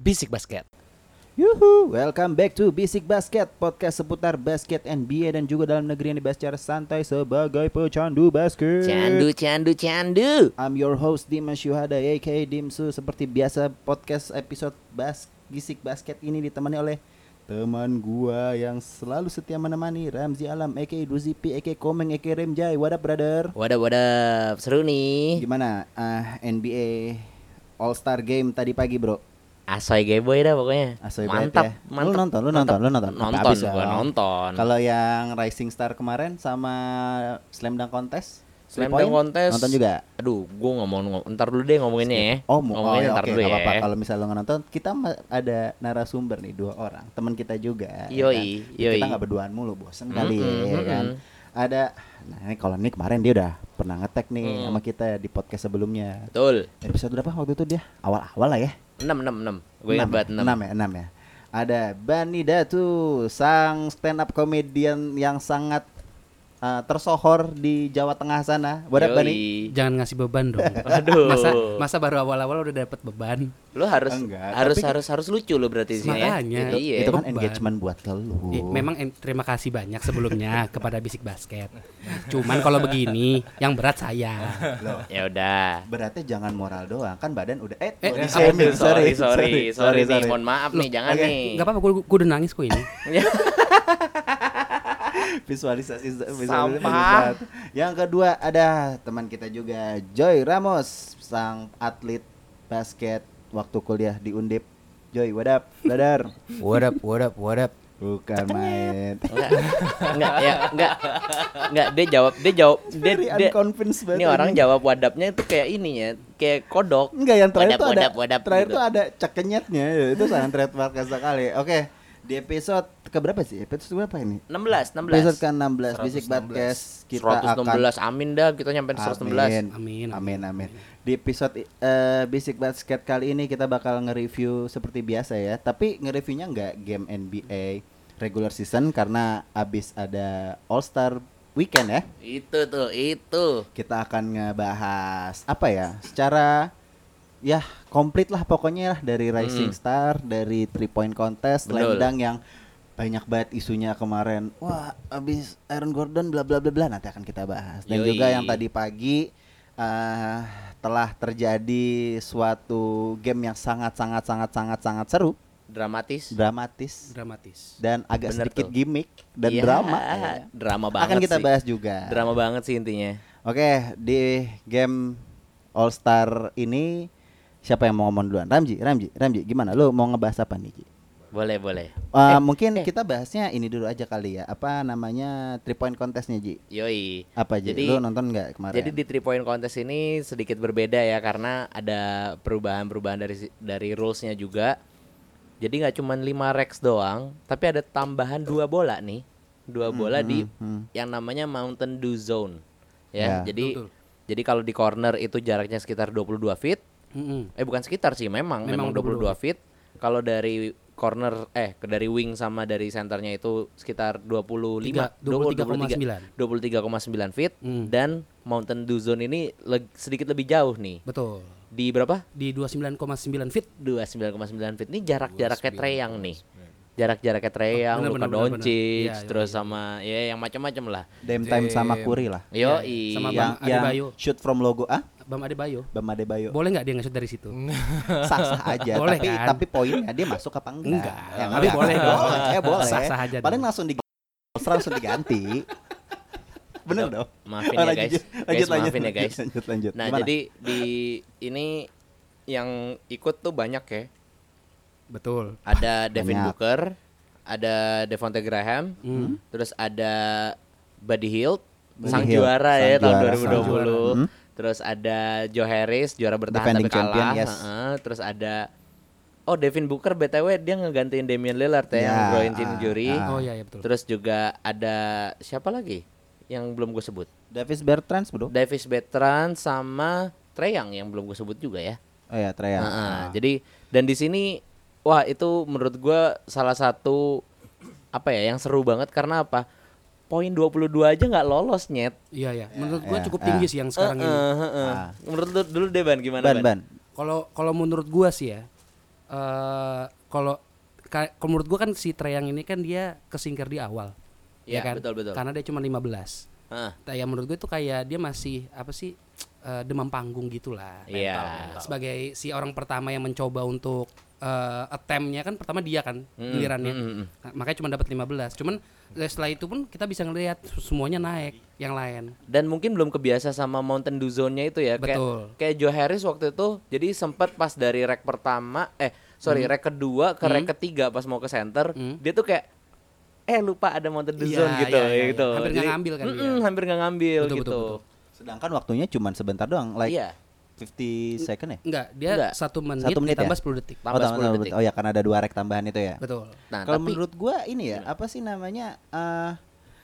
Bisik Basket. Yuhu, welcome back to Basic Basket, podcast seputar basket NBA dan juga dalam negeri yang dibahas secara santai sebagai pecandu basket. Candu, candu, candu. I'm your host Dimas Yuhada aka Dimsu. Seperti biasa podcast episode bas Gisik Basket ini ditemani oleh teman gua yang selalu setia menemani Ramzi Alam aka Duzipi aka Komeng aka Remjai. What up brother? Wadah, wadah, seru nih. Gimana ah NBA All Star Game tadi pagi, Bro? Asoy gayboy dah pokoknya. Asoy banget mantap, ya. mantap. Lu nonton, lu nonton, lu nonton. Sampai Nonton, habis gua dong. nonton. Kalau yang Rising Star kemarin sama Slam Dunk Contest, Three Slam Dunk Point, Contest. Nonton juga. Aduh, gua nggak mau ngomong. Ntar dulu deh ngomonginnya ya. Oh, mau oh, ngomonginnya ya, ntar oke, dulu nggak ya. apa-apa. Kalau misalnya lo nggak nonton, kita ma- ada narasumber nih dua orang, teman kita juga. ya Yoi, kan? yoi. Kita nggak berduaan mulu, bosen kali ya, Mm-mm, ya kan. Ada, nah ini kalau ini kemarin dia udah pernah ngetek nih Mm. sama kita di podcast sebelumnya. Betul. Episode berapa waktu itu dia? Awal-awal lah ya. 6 6 6. Gua ingat Enam banget ya? 6. Enam ya, enam ya. Ada Bani Datu, sang stand up comedian yang sangat uh, tersohor di Jawa Tengah sana. Wadah Bani. Jangan ngasih beban dong. Aduh. Masa masa baru awal-awal udah dapat beban. Lu harus Enggak, harus tapi- harus harus lucu lu berarti di sini ya. Makanya. Gitu, Iya. Itu kan Beban. engagement buat lu. Eh, memang en- terima kasih banyak sebelumnya kepada Bisik Basket. Cuman kalau begini yang berat saya. Loh, Ya udah. beratnya jangan moral doang kan badan udah eh, Eh, body eh, shaming, sorry, sorry, sorry, sorry, nih. Mohon maaf Loh, nih, jangan oke. nih. Enggak apa-apa gua, gua udah nangis kok ini. visualisasi visualisasi Sampah. banget. yang kedua ada teman kita juga Joy Ramos sang atlet basket waktu kuliah di Undip Joy wadap dadar What up, what up, what up? bukan main Enggak, enggak, ya, enggak, enggak. Dia jawab, dia jawab, dia, very dia unconvinced banget ini orang jawab wadapnya itu kayak ini ya, kayak kodok. Enggak yang terakhir Wadap, tuh ada wadap, wadap terakhir gitu. tuh ada cekenyetnya ya, itu sangat trademark sekali. Oke, di episode keberapa sih? Episode berapa ini? 16, 16. Episode ke-16 Bisik 116. Podcast kan kita 116, akan amin dah, kita nyampe 116. Amin. Amin, amin, amin. Di episode eh, Bisik Basket kali ini kita bakal nge-review seperti biasa ya, tapi nge-reviewnya nggak game NBA regular season karena abis ada All Star Weekend ya. Itu tuh, itu. Kita akan ngebahas apa ya? Secara ya komplit lah pokoknya lah dari Rising Star, dari three point contest, Hmm. Betul. Lendang yang banyak banget isunya kemarin. Wah, abis Aaron Gordon bla bla bla bla nanti akan kita bahas. Dan Yoi. juga yang tadi pagi eh, telah terjadi suatu game yang sangat sangat sangat sangat sangat seru, Dramatis. dramatis Dramatis. dan agak Bener sedikit tuh. gimmick dan Iya, drama. Drama banget Akan kita sih. bahas juga. Drama banget sih intinya. Oke, di game All Star ini siapa yang mau ngomong duluan? Ramji, Ramji, Ramji, gimana? Lu mau ngebahas apa nih? Ji? Boleh, boleh. Wah, eh. mungkin kita bahasnya ini dulu aja kali ya. Apa namanya three point contest nih, Ji? Eh, Yoi. Apa Ji? Jadi- Lu nonton nggak kemarin? Jadi di three point contest ini sedikit berbeda ya karena ada perubahan-perubahan dari si- dari rulesnya juga. Jadi nggak cuma 5 racks doang, tapi ada tambahan dua bola nih. Dua bola di hmm. yang namanya Mountain Dew Zone. Ya, Ya. jadi Betul, jadi kalau di corner itu jaraknya sekitar 22 feet. Mm-mm. Eh bukan sekitar sih, memang memang, Memang 22 feet. Kalau dari corner eh dari wing sama dari senternya itu sekitar 25 Tiga- 23,9. 23,9 feet Hmm. dan Mountain Dew Zone ini leg- sedikit lebih jauh nih. Betul. Di berapa? Di 29,9 feet 29,9 feet. Ini jarak-jaraknya treyang nih. Jarak-jaraknya treyang, Bener, Luka bener, bener, Doncic, bener. Iya, terus sama ya yang macam-macam lah. Dame time sama Kuri lah. Yo, Iya, iya. sama Yang, Bam yang Adebayo. shoot from logo ah, Bam Adebayo. Bam Adebayo. Boleh nggak dia nge-shoot dari situ? Sah-sah aja, Boleh tapi kan? tapi poinnya dia masuk apa enggak? Enggak, Ya, tapi boleh dong. Eh, boleh. Sah-sah aja Paling dong. langsung di langsung diganti. Bener dong. Maafin Oh, ya lanjut, guys. lanjut, Guys, lanjut, maafin ya lanjut, guys. lanjut, lanjut. Nah, Gimana? jadi di ini yang ikut tuh banyak ya. Betul. Ada Devin Banyak. Hmm. Booker, ada Devonte Graham, Hmm? terus ada Buddy Hield, Buddy sang Hield, juara sang ya tahun juara, 2020. sang juara. Hmm. Terus ada Joe Harris, juara bertahan Defending tapi kalah. champion, yes. Heeh, terus ada Oh, Devin Booker BTW dia ngegantiin Damian Lillard ya, yang Ya, groin ah, injury. ah. Oh iya ya betul. Terus juga ada siapa lagi yang belum gue sebut? Davis Bertrand bro. Davis Bertrand sama Treyang yang belum gue sebut juga ya. Oh ya, Treya. Heeh, Ah. Nah, Jadi dan di sini wah itu menurut gua salah satu apa ya yang seru banget karena apa? Poin 22 aja nggak lolos nyet. Iya Eh, ya. Menurut gua ya, cukup ya. tinggi sih yang sekarang ini. Heeh, heeh. Menurut lu dulu deh Ah. Ban gimana Ban, Ban? ban. Kalau kalau menurut gua sih ya eh, kalau ka- kalau menurut gua kan si Treyang ini kan dia kesingkir di awal. Iya, kan? betul, betul. Karena dia cuma 15. Heeh. Nah, yang menurut gue itu kayak dia masih apa sih eh, demam panggung gitulah. Iya. Sebagai si orang pertama yang mencoba untuk eh, attempt-nya kan pertama dia kan Mm, gilirannya. mm, mm. Nah, makanya cuma dapat 15. Cuman eh, setelah itu pun kita bisa ngelihat semuanya naik yang lain. dan mungkin belum kebiasa sama Mountain Dew zone-nya itu ya. Kayak- Betul. Kayak, Joe Harris waktu itu, jadi sempat pas dari rek pertama, eh sorry rek kedua ke rek ketiga pas mau ke center, Hmm. dia tuh kayak eh lupa ada Mountain Dew Iya, zone gitu, iya, iya, gitu. iya. Hampir nggak ngambil kan mm-mm, dia. hampir nggak ngambil Betul, gitu. betul, betul. Sedangkan waktunya cuman sebentar doang, like Iya. 50 second ya? Enggak, dia Enggak. satu menit, Satu menit ditambah ya? 10 detik. Tambah oh, tambah 10 10 detik. Oh ya, karena ada dua rek tambahan itu ya. Betul. Nah, Kalau tapi menurut gua ini ya, apa sih namanya? eh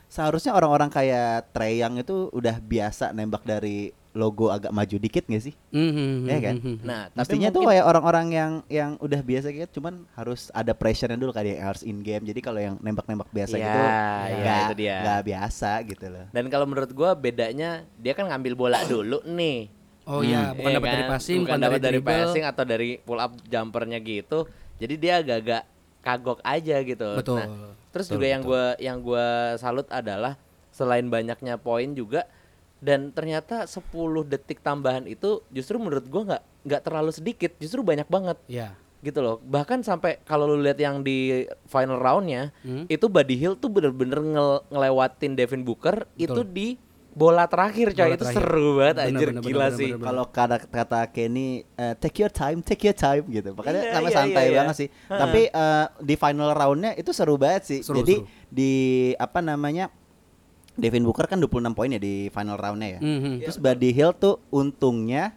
seharusnya orang-orang kayak Treyang itu udah biasa nembak dari logo agak maju dikit gak sih? Mhm, Iya kan? mhm. nah, tapi Mestinya tuh mungkin- kayak orang-orang yang yang udah biasa gitu cuman harus ada pressure-nya dulu kali ya harus in game. Jadi kalau yang nembak-nembak biasa Iya, gitu iya, nggak- itu dia. nggak biasa gitu loh. dan kalau menurut gua bedanya dia kan ngambil bola dulu nih. Oh iya, Hmm. bukan Iya dapat dari kan? passing, bukan dapat dari dribble. passing atau dari pull up jumpernya gitu. Jadi dia agak-agak kagok aja gitu. Betul. terus juga yang gua yang gua salut adalah selain banyaknya poin juga dan ternyata 10 detik tambahan itu justru menurut gua nggak nggak terlalu sedikit, justru banyak banget Iya. gitu loh. Bahkan sampai kalau lu lihat yang di final roundnya Hmm. itu Buddy Hill tuh bener-bener ngel- ngelewatin Devin Booker itu di bola terakhir coy. Bola itu terakhir. seru banget Bener, anjir bener, gila bener, sih. bener, bener. Kalau kata kata Kenny eh, take your time, take your time gitu. Makanya Iya, sama iya, santai iya, iya. banget sih. Tapi eh, di final roundnya itu seru banget sih. Seru, Jadi seru. di apa namanya Devin Booker kan 26 poin ya di final roundnya ya. Mhm. Iya, Terus Buddy Hill tuh untungnya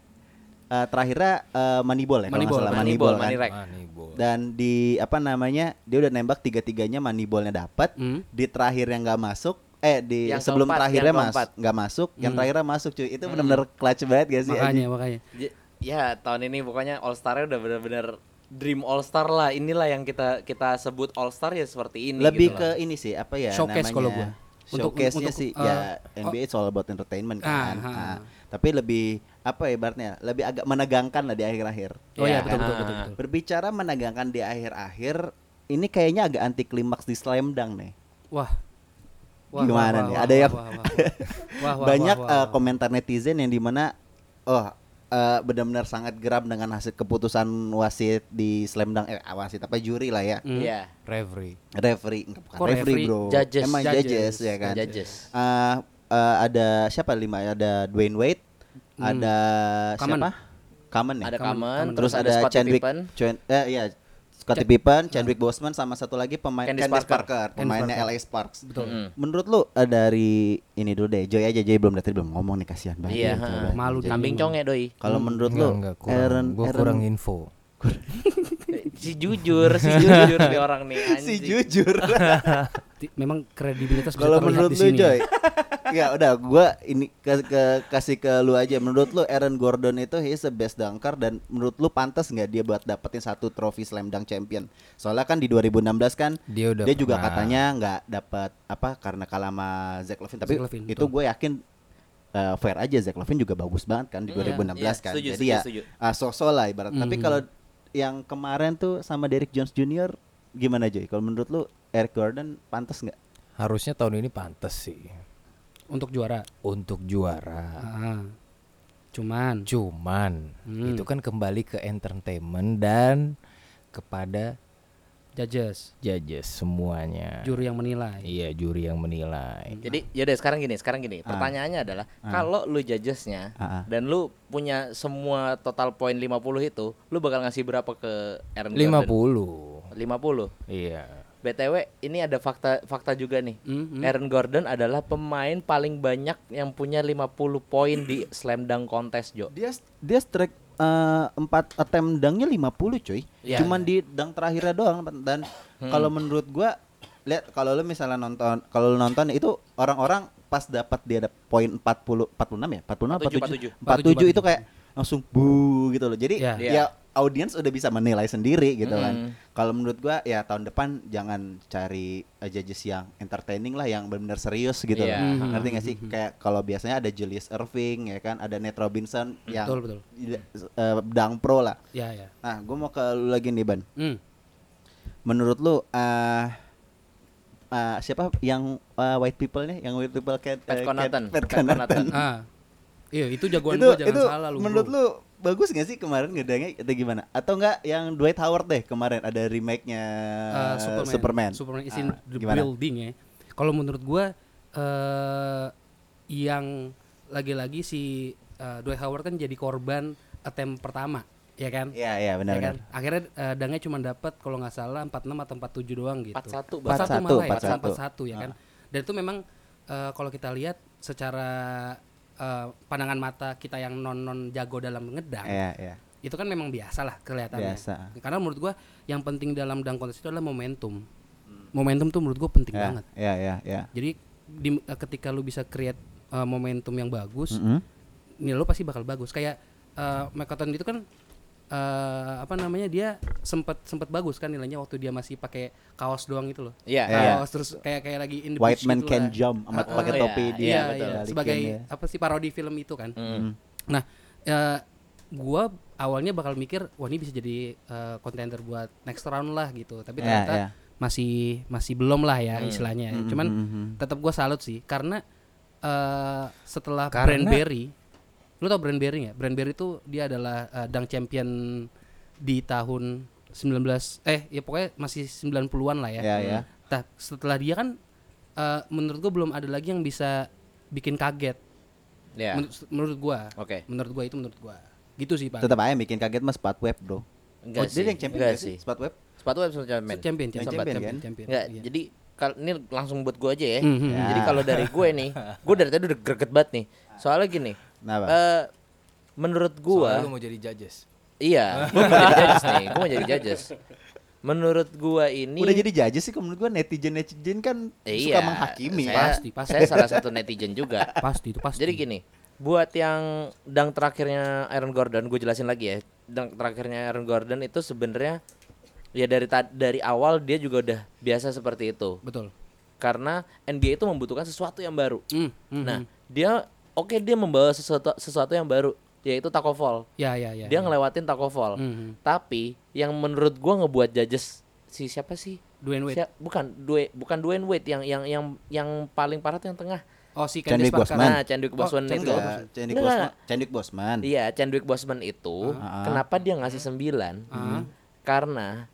eh, terakhirnya eh, Moneyball ya kalau nggak Moneyball, salah Moneyball, Moneyball kan. Moneyrek. dan di apa namanya dia udah nembak tiga tiganya moneyballnya dapat Hmm. di terakhir yang nggak masuk eh di Yang sebelum keempat, terakhirnya yang mas keempat. nggak masuk yang terakhirnya masuk cuy itu benar-benar clutch banget gak sih Hmm. Makanya, anjing? makanya. J- Ya tahun ini pokoknya All Star udah bener-bener dream All Star lah. Inilah yang kita kita sebut All Star ya seperti ini. lebih gitu ke loh. ini sih apa ya Showcase namanya kalau gua. Untuk- showcase nya untuk, sih eh, ya NBA it's all about entertainment kan Ah, ah, Ah, ah. tapi lebih apa ya ibaratnya lebih agak menegangkan lah di akhir-akhir Oh Ya, iya, betul, kan? betul, betul, betul. berbicara menegangkan di akhir-akhir ini kayaknya agak anti klimaks di slam dunk nih Wah. Gimana nih? Ada yang- wah, wah, banyak wah, eh, wah. komentar netizen yang dimana oh eh, benar-benar sangat geram dengan hasil keputusan wasit di slam dunk eh wasit apa juri lah ya Hmm. Iya. Referee. referee enggak, bukan Kok referee, referee? bro Judges. emang judges, Judges, ya kan judges. Eh, eh, ada siapa lima ada Dwayne Wade ada Kamen. siapa Kamen ya Ada Kamen, Kamen, Kamen. terus ada Scottie Chadwick Pippen. Chen, eh iya Scottie Pippen, Chadwick Boseman sama satu lagi pemain Candice Candice, Parker. Parker, Candice pemainnya Parker. LA Sparks. Betul. Mm. Menurut lu eh, dari ini dulu deh, Joy aja Joy belum dari tadi belum ngomong nih kasihan banget. Iya, ya, Joy heeh. banget. Malu Joy. deh. Kambing conge doi. Kalau menurut lu Enggak, enggak, kurang. Aaron, Gua Aaron- kurang info. Si jujur, si jujur nih orang nih. anjing. si jujur. Ti- memang kredibilitas bisa Kalau terlihat menurut di lu sini. Joy, ya udah gua ini ke- ke- kasih ke lu aja. Menurut lu Aaron Gordon itu he's the best dunker dan menurut lu pantas nggak dia buat dapetin satu trofi slam dunk champion? Soalnya kan di 2016 kan Dia udah dia juga pernah. katanya nggak dapat apa karena kalah sama Zach Levine tapi Zach Levine, itu betul. gue yakin eh, fair aja Zach Levine juga bagus banget kan di Hmm, 2016 iya, kan setuju, jadi setuju, ya setuju. ah, so-so lah ibarat tapi Mhm. kalau yang kemarin tuh sama Derrick Jones Jr gimana Joy kalau menurut lu Eric Gordon pantas nggak Harusnya tahun ini pantas sih untuk juara. untuk juara. Ah. Cuman Cuman Hmm. itu kan kembali ke entertainment dan kepada judges, judges semuanya. juri yang menilai. Iya, juri yang menilai. Jadi yaudah sekarang gini, sekarang gini. Pertanyaannya adalah kalau lu judgesnya Ah, ah. dan lu punya semua total poin 50 itu, lu bakal ngasih berapa ke Aaron 50. Gordon? 50. Iya. BTW ini ada fakta fakta juga nih. Mm, mm. Aaron Gordon adalah pemain paling banyak yang punya 50 poin di slam dunk contest, Jo. dia dia strike eh, empat attempt dangnya 50 cuy Iya. Hmm. cuman di dang terakhirnya doang dan kalau menurut gua lihat kalau lu misalnya nonton kalau lu nonton itu orang-orang pas dapat dia ada poin 40 46 ya 46 47. 47 47, itu kayak langsung bu gitu loh jadi Iya. ya Iya. audiens udah bisa menilai sendiri gitu Mm. kan. Kalau menurut gua ya tahun depan jangan cari eh, judges yang entertaining lah yang benar-benar serius gitu Iya. loh. Mhm. Ngerti gak sih? Mm-hmm. Kayak kalau biasanya ada Julius Irving ya kan, ada Nate Robinson yang Betul, betul. eh, dang pro lah. Ya, ya. Nah, gua mau ke lu lagi nih, Ban. Hmm. Menurut lu eh eh, siapa yang eh, white people nih? Yang white people cat Pat eh, cat- Connaughton. Pat Pat Connaughton. Connaughton. Ah. Iya, itu jagoan itu gua jangan itu salah lu. bro. menurut lu bagus gak sih kemarin gedangnya atau gimana atau enggak yang Dwight Howard deh kemarin ada remake-nya Eh, Superman. Superman, is in Ah, the gimana? building ya. Kalau menurut gua eh yang lagi-lagi si eh, Dwight Howard kan jadi korban attempt pertama, ya kan? Iya iya benar ya benar. kan? Akhirnya eh, Dangnya cuma dapat kalau nggak salah 46 atau 47 doang gitu. 41 Pas- bahkan. 41 malah ya, 41. 41 ya Ah. kan. Dan itu memang eh, kalau kita lihat secara eh, pandangan mata kita yang non-non jago dalam ngedang, Iya iya. itu kan memang biasa lah kelihatannya. Biasa. Karena menurut gua yang penting dalam dang contest itu adalah momentum. Momentum tuh menurut gua penting Iya banget. iya iya. iya. Jadi di- eh, ketika lu bisa create eh, momentum yang bagus, Mm-mm. Mm-hmm. nilai lu pasti bakal bagus. Kayak eh Mekaton itu kan eh, apa namanya dia sempat sempat bagus kan nilainya waktu dia masih pakai kaos doang gitu loh. Iya. Iya. Kaos terus kayak kayak lagi in the White bush man gitu can lah. jump sama Ah, pakai iya, topi dia iya, betul, iya. balikin sebagai dia. Mm-hmm. apa sih parodi film itu kan. Mm. Nah, eh gua awalnya bakal mikir wah ini bisa jadi eh, contender buat next round lah gitu. Tapi Iya, ternyata iya. masih masih belum lah ya istilahnya. Mm, Cuman mm, mm. tetap gua salut sih karena eh setelah Karena- Brandberry lu tau Brandberry ya? Brandberry itu dia adalah eh, dang champion di tahun 19 eh ya pokoknya masih 90-an lah ya. Iya, iya. Nah, setelah dia kan eh, menurut gua belum ada lagi yang bisa bikin kaget. Iya. Menurut, menurut gua. Oke. Menurut gua itu menurut gua. Gitu sih, Pak. Tetap aja bikin kaget mas Pat Web bro. Enggak oh, sih. Dia yang champion Enggak nggak sih. Pat Web. Sepatu web champion. champion, champion, Champion, champion, kan? champion. Enggak, Iya. jadi kal ini langsung buat gue aja ya. Mhm. Ya. Jadi kalau dari gue nih, gue dari tadi udah greget banget nih. Soalnya gini, Kenapa? eh, menurut gue, Soalnya lu mau jadi judges. iya, gue mau jadi judges nih, gue mau jadi judges. Menurut gue ini, Udah jadi judge sih kok menurut gua netizen netizen kan iya, suka menghakimi. Saya, Pasti, pasti. saya salah satu netizen juga. pasti itu pasti. Jadi gini, buat yang dang terakhirnya Aaron Gordon, gue jelasin lagi ya. Dang terakhirnya Aaron Gordon itu sebenarnya ya dari ta- dari awal dia juga udah biasa seperti itu. betul. karena NBA itu membutuhkan sesuatu yang baru. Mm, mhm. Nah, dia oke dia membawa sesuatu sesuatu yang baru yaitu Taco Fall. ya ya ya. dia ya. ngelewatin Taco Fall. Mhm. Tapi yang menurut gua ngebuat judges si siapa sih? Dwayne Wade. Sia- bukan Dwayne bukan Dwayne Wade yang yang yang yang paling parah tuh yang tengah. Oh si Chadwick Candice Parker. Boseman. Nah, Chadwick Boseman Oh, Chadwick itu. Boseman. Enggak, Cendrik Enggak, Bosman. enggak. Cendrik Bosman. Iya, Chadwick Boseman itu Ah. kenapa dia ngasih 9? Ah. Karena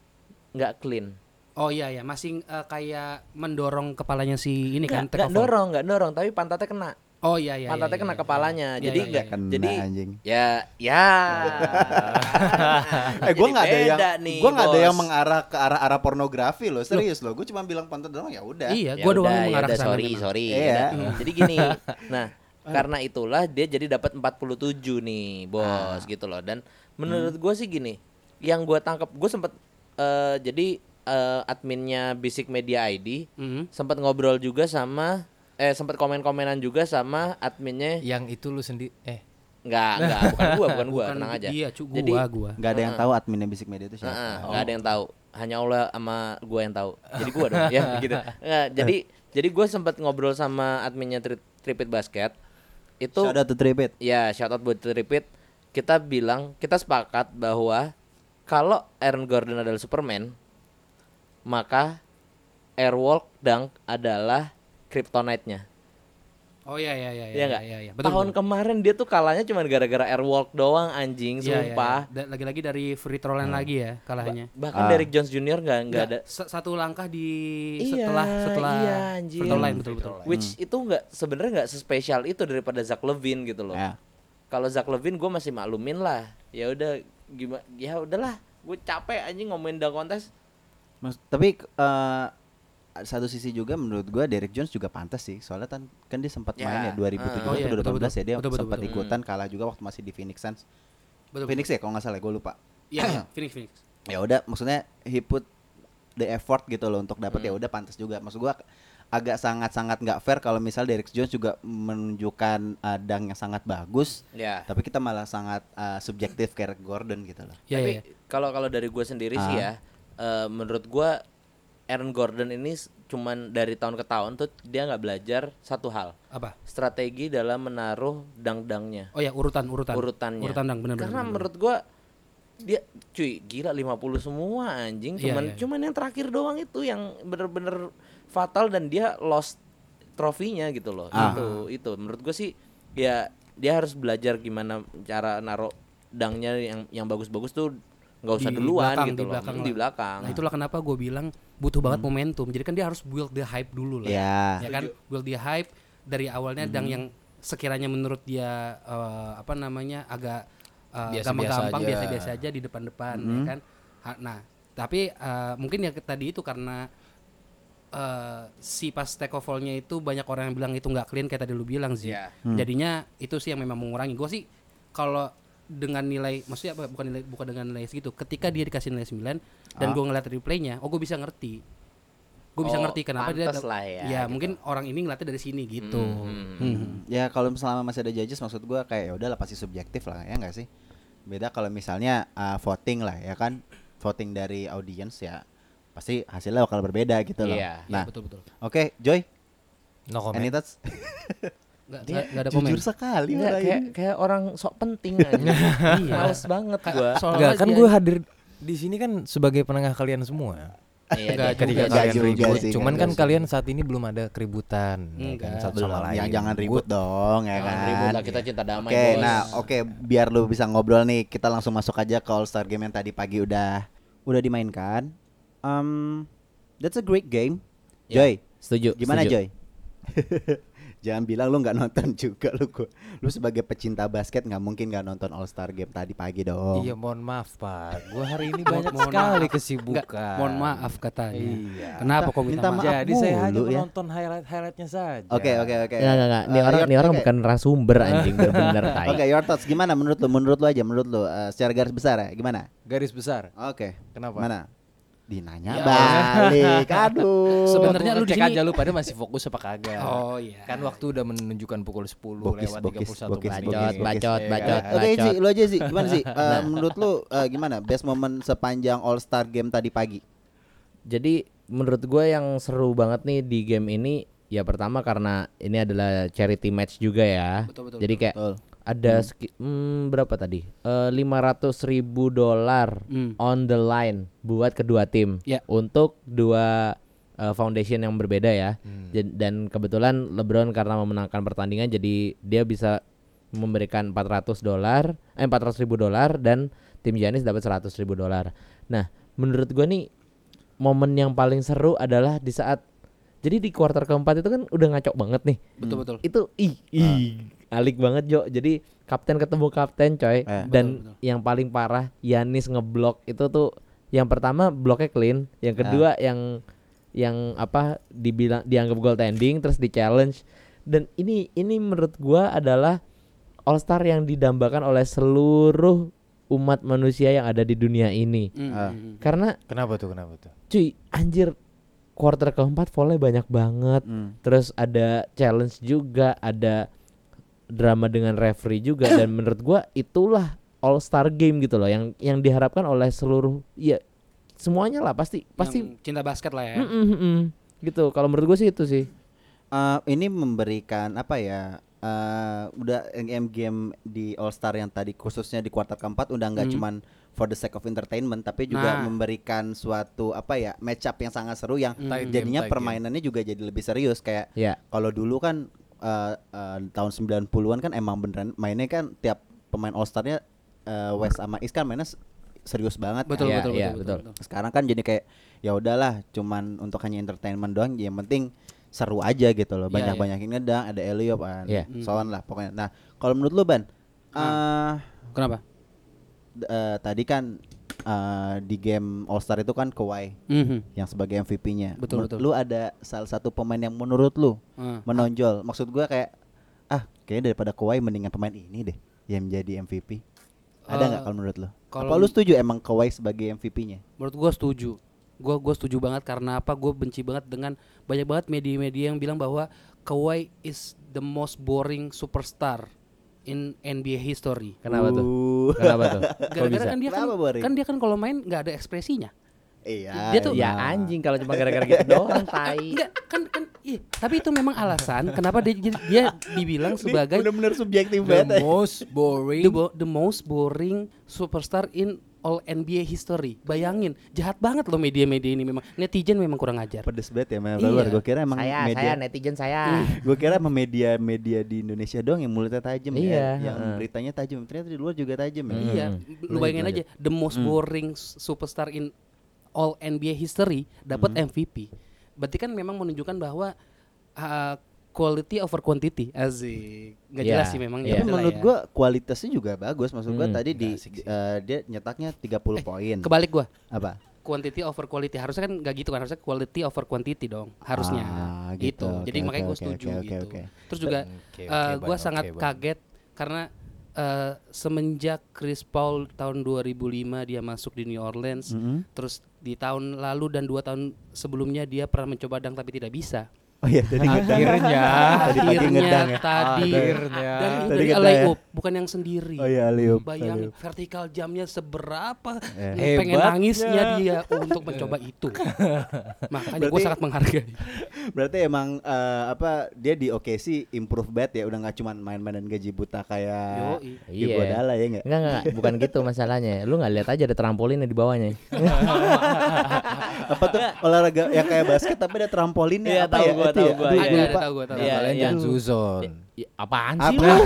nggak clean. Oh iya ya, masih eh, kayak mendorong kepalanya si ini kan Nggak take off. dorong, nggak dorong, tapi pantatnya kena. Oh iya iya. pantatnya iya, kena iya, kepalanya. iya, jadi iya, enggak Kena, jadi anjing. ya ya. Eh gue Jadi nggak ada yang beda nih, gue nggak ada bos. yang mengarah ke arah arah pornografi loh serius loh gue cuma bilang pantat doang ya udah. Iya, Ya gua doang udah, yang ya mengarah udah, sana sorry, memang. sorry. Iya. Ya udah. Jadi gini. Nah, karena itulah dia jadi dapat 47 nih, Ah. Bos, gitu loh. Dan Hmm. menurut gue sih gini, yang gua tangkap gue sempet eh, jadi eh, adminnya Basic Media ID Mhm. sempat ngobrol juga sama eh sempat komen-komenan juga sama adminnya Iya. Yang itu lu sendiri eh Kan nggak nggak bukan gua bukan gua tenang Kan aja Iya, cu, gua, jadi gua. Nggak ada yang tahu adminnya Bisik Media itu Heeh, siapa. nggak ada yang tahu hanya Allah sama gue yang tahu jadi gue dong ya gitu Nggak, jadi jadi gue sempat ngobrol sama adminnya tri Tripit Basket itu Shout out to Tripit. ya shout out buat Tripit kita bilang kita sepakat bahwa kalau Aaron Gordon adalah Superman maka Airwalk Dunk adalah kryptonite-nya. Oh iya iya iya Iya nggak? iya iya. Tahun kemarin dia tuh kalahnya cuma gara-gara Airwalk doang anjing, Iya, iya, iya. sumpah. Da- Lagi-lagi dari free throw Hmm. line lagi ya kalahnya. Bahkan Ah. Derrick Jones Jr. nggak nggak ada Sa- satu langkah di Iya, setelah setelah iya, anjir. free throw line betul betul. which itu nggak sebenarnya nggak sespesial itu daripada Zach Levine gitu loh. Ya. Kalau Zach Levine gue masih maklumin lah. Ya udah gimana ya udahlah gue capek anjing ngomongin dunk kontes. Mas- tapi eh, satu sisi juga menurut gue Derek Jones juga pantas sih soalnya kan kan dia sempat Ya. main ya 2017 Oh, atau 2018 ya iya, betul-betul. dia Betul-betul, sempat betul. ikutan kalah juga waktu masih di Phoenix Suns. Betul. Phoenix ya kalau nggak salah gue lupa. Iya, iya, Phoenix Phoenix. Hmm. ya udah maksudnya he put the effort gitu loh untuk dapat ya udah pantas juga maksud gua agak sangat-sangat nggak fair kalau misal Derek Jones juga menunjukkan adang yang sangat bagus, Ya. Iya. tapi kita malah sangat uh, subjektif kayak Gordon gitu loh. Ya, Tapi ya, Ah. ya. kalau kalau dari gue sendiri sih ya, eh, menurut gue Aaron Gordon ini s- cuman dari tahun ke tahun tuh dia nggak belajar satu hal, Apa? strategi dalam menaruh dang-dangnya, Oh ya urutan urutan. urutannya. Urutan dang benar Karena benar. menurut gue dia cuy gila 50 semua anjing, Iya, cuman iya, iya. cuman yang terakhir doang itu yang bener-bener fatal dan dia lost trofinya gitu loh. Ah. Itu itu menurut gue sih ya dia harus belajar gimana cara naruh dangnya yang yang bagus-bagus tuh nggak usah Di duluan belakang, gitu di loh. belakang Hmm, lah. di belakang. Hmm. Nah, itulah kenapa gue bilang butuh banget momentum. Jadi kan dia harus build the hype dulu lah. Iya. Ya. Ya kan? Build the hype dari awalnya dang yang sekiranya menurut dia eh, apa namanya agak eh, Biasa-biasa gampang-gampang aja. biasa-biasa aja di depan-depan ya kan. Ha- Nah, tapi eh, mungkin ya ke- tadi itu karena eh, si pas take off nya itu banyak orang yang bilang itu nggak clean kayak tadi lu bilang sih. Hmm. Iya. Jadinya itu sih yang memang mengurangi. Gue sih kalau dengan nilai maksudnya apa bukan nilai bukan dengan nilai segitu ketika dia dikasih nilai 9 dan gue ngeliat replaynya oh gue bisa ngerti gue bisa Oh, ngerti kenapa dia pantes ada- lah ya, gitu. Hmm, mungkin orang ini ngeliatnya dari sini gitu Mhm. Hmm. Ya kalau selama masih ada judges maksud gua kayak ya udahlah pasti subjektif lah ya enggak sih? Beda kalau misalnya uh, voting lah ya kan voting dari audience ya pasti hasilnya bakal berbeda gitu loh. Iya, nah, Iya, betul betul oke Joy, No comment. any thoughts? nggak Dia nggak- nggak ada komen Jujur sekali Nggak, orang kayak ini. kayak orang sok penting aja. Iya. Males banget gua. Enggak, kan dia- gue hadir di sini kan sebagai penengah kalian semua. Iya, Nggak dia- Ketika juga kalian sih, ribut, nggak cuman juga kan sih. kalian saat ini belum ada keributan ya kan, Enggak. satu sama Belum, lain. ya jangan ribut dong ya Jangan kan. ribut lah, kita cinta damai. Oke, bos. nah oke biar lu bisa ngobrol nih, kita langsung masuk aja ke All Star Game yang tadi pagi udah udah dimainkan. Um, that's a great game. Ya. Joy, setuju. gimana setuju. Joy? Jangan bilang lu nggak nonton juga lu gua. Lu sebagai pecinta basket nggak mungkin nggak nonton All Star Game tadi pagi dong. Iya, mohon maaf Pak. Gue hari ini Mohon- banyak mohon sekali maaf. kesibukan. Nggak, mohon maaf katanya Iya. kenapa kok minta, Minta maaf, maaf. Jadi saya hanya mulu ya. menonton highlight-highlightnya saja. Oke oke Enggak oke. enggak enggak. Ini Eh, orang your- ini orang oke. bukan narasumber anjing bener-bener tai. Oke, your thoughts gimana menurut lu? Menurut lu aja, menurut lu eh, secara garis besar ya, gimana? Garis besar. Oke. Ya. Kenapa? Mana? Dinanya balik. Aduh. Sebenarnya Gua lu di cek sini- aja lu pada masih fokus apa kagak. oh iya Kan waktu udah menunjukkan pukul 10 Bokis, lewat bokis, 31 bokis, menit. bacot, Iya bacot, kan? bacot, Oke bacot. Ji, lu aja sih. Gimana sih? Eh, menurut lu eh, gimana best moment sepanjang All Star game tadi pagi? Jadi menurut gue yang seru banget nih di game ini ya pertama karena ini adalah charity match juga ya. Betul, betul, Jadi kayak Betul. ada seki- hmm, berapa tadi? Eh, Lima ratus ribu dolar Hmm. on the line buat kedua tim Ya. untuk dua eh, foundation yang berbeda ya. Hmm. Ja- Dan kebetulan LeBron karena memenangkan pertandingan jadi dia bisa memberikan 400 dolar, eh 400 ribu dolar dan tim Giannis dapat 100 ribu dolar. Nah, menurut gua nih momen yang paling seru adalah di saat jadi di kuarter keempat itu kan udah ngaco banget nih. betul betul Nah, Itu ih, ih alik banget Jo. Jadi kapten ketemu kapten coy Eh. dan Betul, yang paling parah Yanis ngeblok itu tuh yang pertama bloknya clean, yang Ah. kedua yang yang apa dibilang dianggap goal tending terus di challenge dan ini ini menurut gua adalah all star yang didambakan oleh seluruh umat manusia yang ada di dunia ini. Mm, Ah. mm, mm. Karena Kenapa tuh? Kenapa tuh? cuy anjir quarter keempat volley banyak banget Hmm. terus ada challenge juga ada drama dengan referee juga dan menurut gua itulah all star game gitu loh yang yang diharapkan oleh seluruh ya semuanya lah pasti pasti Yang cinta basket lah ya Mm-mm, mm-mm. gitu kalau menurut gua sih itu sih Eh, ini memberikan apa ya? eh, udah game game di All Star yang tadi khususnya di kuartal keempat udah nggak Hmm. cuman for the sake of entertainment tapi juga Nah. memberikan suatu apa ya match up yang sangat seru yang Hmm. Tight game, jadinya tight game. permainannya juga jadi lebih serius kayak ya kalau dulu kan eh, eh, tahun 90-an kan emang beneran mainnya kan tiap pemain All Star-nya eh, West sama East kan mainnya s- serius banget. kan. betul, Iya, betul, iya, betul betul. betul Sekarang kan jadi kayak ya udahlah cuman untuk hanya entertainment doang yang penting seru aja gitu loh. Iya, Hmm. Banyak-banyakin ngedang, ada Eliop kan. Iya. Soan lah pokoknya. Nah, kalau menurut lu Ban Nah. eh kenapa d- eh, tadi kan eh, di game All Star itu kan Kawhi Mhm. yang sebagai MVP-nya. Betul, betul. Lu ada salah satu pemain yang menurut lu Ah. menonjol. Maksud gua kayak ah kayaknya daripada Kawhi mendingan pemain ini deh yang menjadi MVP. Ada Eh, nggak kalau menurut lo? kalau- Apa lu setuju emang Kawhi sebagai MVP-nya? menurut gua setuju gue gue setuju banget karena apa gue benci banget dengan banyak banget media-media yang bilang bahwa Kawhi is the most boring superstar in NBA history Kenapa tuh? Uh, Kenapa tuh? Kok gara-gara bisa? kan dia kan, Kenapa boring? kan dia kan kalau main nggak ada ekspresinya Iya. Dia tuh- Ya anjing kalau cuma gara-gara gitu doang tai. Enggak, kan kan iya, tapi itu memang alasan kenapa dia jadi- dia dibilang sebagai benar-benar The subjektif banget. eh. most boring the, bo- the most boring superstar in all NBA history. Bayangin, jahat banget loh media-media ini memang. Netizen memang kurang ajar. Pedes banget ya, Mel. Iya. Gue kira emang Saya saya media. Iya. netizen saya. Gue kira emang media-media di Indonesia doang yang mulutnya tajam Iya, ya, yang heeh. beritanya tajam. Ternyata di luar juga tajam ya. Iya, Hmm, Nah, lu bayangin aja lanjut, the most Hmm. boring s- superstar in all NBA history dapat Hmm. MVP. Berarti kan memang menunjukkan bahwa uh, quality over quantity. Asik. Nggak Iya, jelas sih memang iya. Tapi udahlah menurut ya. gua kualitasnya juga bagus. Maksud gua Hmm, tadi di asik sih. eh, dia nyetaknya 30 poin. kebalik gua. Apa? quantity over quality harusnya kan nggak gitu kan harusnya quality over quantity dong harusnya Ah, gitu, gitu. jadi Oke, makanya oke, gue oke, setuju oke, gitu oke. terus juga Oke, eh oke, gue Bang, sangat oke, Bang. kaget karena eh, semenjak Chris Paul tahun 2005 dia masuk di New Orleans Mm-hmm. terus di tahun lalu dan dua tahun sebelumnya dia pernah mencoba dang tapi tidak bisa Oh iya tadi ngedang. akhirnya Tadi pagi ngedang ya. tadi Akhirnya. dan itu Tadi dari ngedang alley ya. oop, bukan yang sendiri Oh iya Liup. Bayangin vertikal jamnya seberapa Eh. pengen Hebatnya. nangisnya dia untuk mencoba itu. Makanya gue Berarti- sangat menghargai. Berarti emang eh, apa dia di OKC improve banget ya udah nggak cuman main-mainan gaji buta kayak Yoi. Iya. Iya. Iguodala ya enggak? Enggak, enggak, bukan gitu masalahnya. Lu nggak lihat aja ada trampolinnya di bawahnya. apa tuh olahraga yang kayak basket tapi ada trampolinnya Iya, apa tahu ya? gua, Itu tahu ya? gua, Aduh, iya. gua Ada, lupa. ada, tahu gue tahu. Iya, kalian iya. jangan suzon Ya, apaan sih Apa? lu?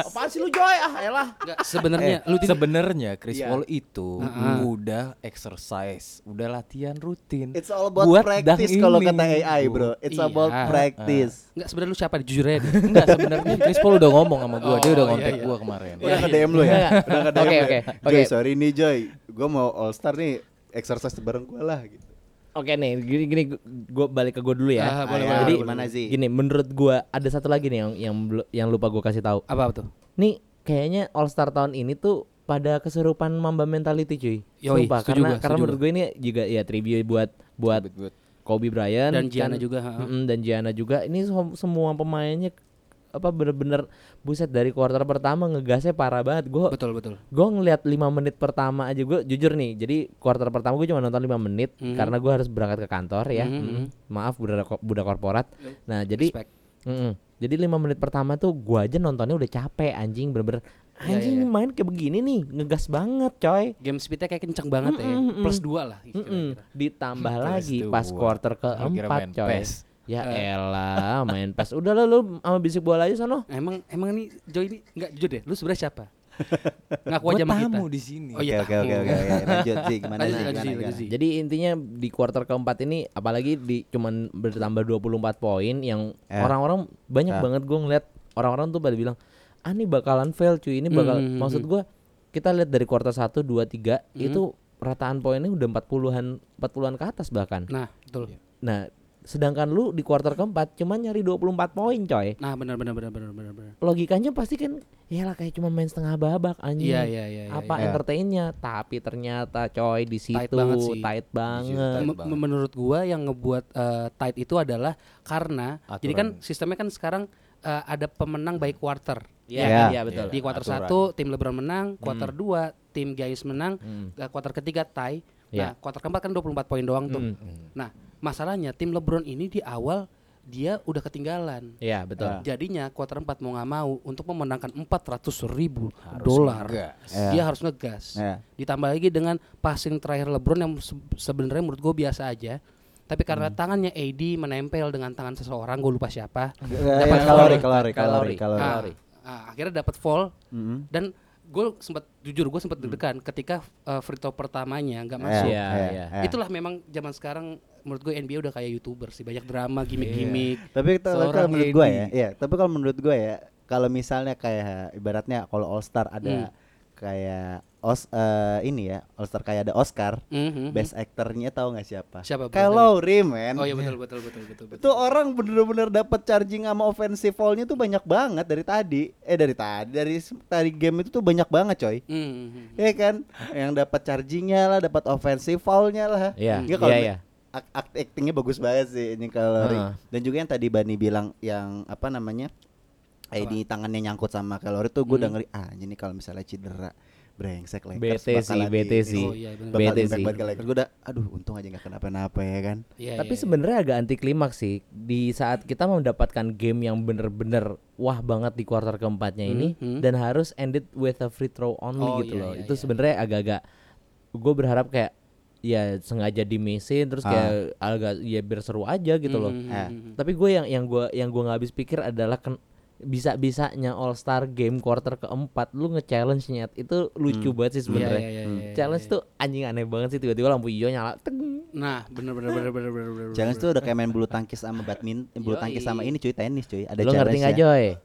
Apaan sih lu Joy? Ah, elah. Nggak, Sebenarnya Eh, lu tidak sebenarnya Chris Iya. Paul itu Heeh. udah exercise, udah latihan rutin. It's all about Buat practice dang kalau ini. kata AI, Bro. It's Iya. ah. about practice. nggak sebenarnya lu siapa jujur aja. deh. Enggak sebenarnya Chris Paul udah ngomong sama gua, dia udah Oh, iya, kontak iya. gua kemarin. Udah ke DM lu ya? Udah ke Oke, DM. lu ya? oke, Joy, oke. sorry nih Joy. Gua mau All Star nih exercise bareng gua lah gitu. Oke nih, gini gini gue balik ke gue dulu Ah, ya. boleh, boleh, Jadi boleh, gimana sih? Gini, menurut gue ada satu lagi nih yang yang belu- yang lupa gue kasih tahu. Apa tuh? Nih kayaknya All Star tahun ini tuh pada kesurupan Mamba mentality cuy. Yoi, Sumpah, setuju karena gua, karena setuju menurut gue ini juga ya tribute buat buat Buat- Kobe Bryant Dan Gianna kan. juga, ha. Mm-mm, dan Gianna juga. Ini som- semua pemainnya apa bener-bener buset dari kuarter pertama ngegasnya parah banget. Gue Betul betul. gue ngelihat 5 menit pertama aja gue jujur nih jadi quarter pertama gue cuma nonton 5 menit Mhm. karena gue harus berangkat ke kantor ya Mhm, mhm. maaf budak ko- budak korporat nah jadi Respect. Mm-mm. jadi 5 menit pertama tuh gue aja nontonnya udah capek anjing bener-bener Iya, anjing iya, iya. main kayak begini nih ngegas banget coy Game speednya kayak kenceng banget ya. Mm-mm, mm-mm. Plus dua lah. gitu, Mm-mm. kira-kira. ditambah Plus lagi dua. pas quarter Gua kira keempat main coy PES. ya Eh. elah main pas udah lah lu sama bisik bola aja sono Nah, Emang emang nih Joy ini nggak jujur deh. Lu sebenarnya siapa? Ngaku Gua aja sama kita. tamu di sini. Oh, iya. Oke, oke, oke, oke. Lanjut sih gimana Lanjut, sih? lanjut, Gimana, lanjut gimana? sih. Jadi intinya di kuarter keempat ini apalagi di cuman bertambah 24 poin yang Eh. orang-orang banyak Ah. banget gue ngeliat orang-orang tuh pada bilang ah ini bakalan fail cuy ini bakal Hmm. maksud gue kita lihat dari kuarter 1 2 3 itu rataan poinnya udah 40-an 40-an ke atas bahkan. Nah, betul. Nah, sedangkan lu di kuarter keempat cuman nyari 24 poin coy. Nah, benar benar benar benar benar benar. Logikanya pasti kan ya lah kayak cuma main setengah babak anjing. Iya iya iya. iya, Apa iya. entertainnya? Tapi ternyata coy di situ Tight banget sih. tight banget. Tight Me- banget. menurut gua yang ngebuat eh, tight itu adalah karena jadi kan sistemnya kan sekarang eh, ada pemenang by quarter. Iya, Iya. iya betul. Hmm. Di kuarter aturan. satu tim LeBron menang, kuarter dua tim Giannis menang, eh, kuarter ketiga tie. Nah, Iya. Hmm. kuarter keempat kan 24 poin doang tuh. Nah, masalahnya tim LeBron ini di awal dia udah ketinggalan. Iya, Ah. betul. Jadinya kuarter 4 mau nggak mau untuk memenangkan 400 ribu dolar ngegas. dia harus ngegas. Iya. Ditambah lagi dengan passing terakhir LeBron yang se- sebenarnya menurut gue biasa aja. Tapi karena tangannya AD menempel dengan tangan seseorang, gue lupa siapa. Dapat kalori, kalori, kalori, Kalori. kalori. Ah, ah, akhirnya dapat fall Mm-hmm. Mm-mm. dan gue sempat jujur gue sempat deg-degan ketika eh, free throw pertamanya nggak Eh, masuk. Mm. Iya, eh, iya. eh. Itulah memang zaman sekarang menurut gue NBA udah kayak youtuber sih banyak drama gimmick-gimmick. Iya. Tapi kita- Seorang kalau menurut gue ya, Edi. ya. Tapi Hmm. kalau menurut gue ya, kalau misalnya kayak ibaratnya kalau All Star ada kayak os eh, ini ya All Star kayak ada Oscar Mhm. best actornya tahu nggak siapa Siapa? kalau Rimen Oh iya betul betul betul betul. betul. itu orang bener-bener dapat charging sama offensive foul-nya tuh banyak banget dari tadi eh dari tadi dari dari game itu tuh banyak banget coy Mhm. Iya kan yang dapat chargingnya lah dapat offensive foul-nya lah Iya, Nggak kalau iya, me- iya. ak- ak- actingnya bagus banget sih ini kalau Ri. Heeh. dan juga yang tadi Bani bilang yang apa namanya eh di tangannya nyangkut sama kalori tuh Hmm. gue udah ngeri ah ini kalau misalnya cedera brengsek Lakers Bete sih, bakalan bete ini- sih. Oh iya benar. bakal Bete impact sih. banget ke Lakers gue udah aduh untung aja nggak kenapa-napa ya kan Iya, Tapi iya, iya. sebenarnya agak anti klimaks sih di saat kita mendapatkan game yang bener-bener wah banget di kuarter keempatnya ini Hmm, hmm. dan harus ended with a free throw only Oh, gitu iya, loh. iya, Itu iya. sebenarnya agak-agak gue berharap kayak ya sengaja dimesin terus kayak agak ya biar seru aja gitu loh. Mhm. Eh. Tapi gue yang yang gue yang gue nggak habis pikir adalah ken- bisa-bisanya All Star Game quarter keempat lu nge-challenge nyet itu lucu banget sih Iya, sebenarnya. iya, iya, iya, Challenge iya. tuh anjing aneh banget sih tiba-tiba lampu hijau nyala. Teng. Nah, benar benar benar benar benar benar. challenge tuh udah kayak main bulu tangkis sama badminton bulu tangkis sama ini cuy tenis cuy ada Lu ngerti nggak challenge-nya.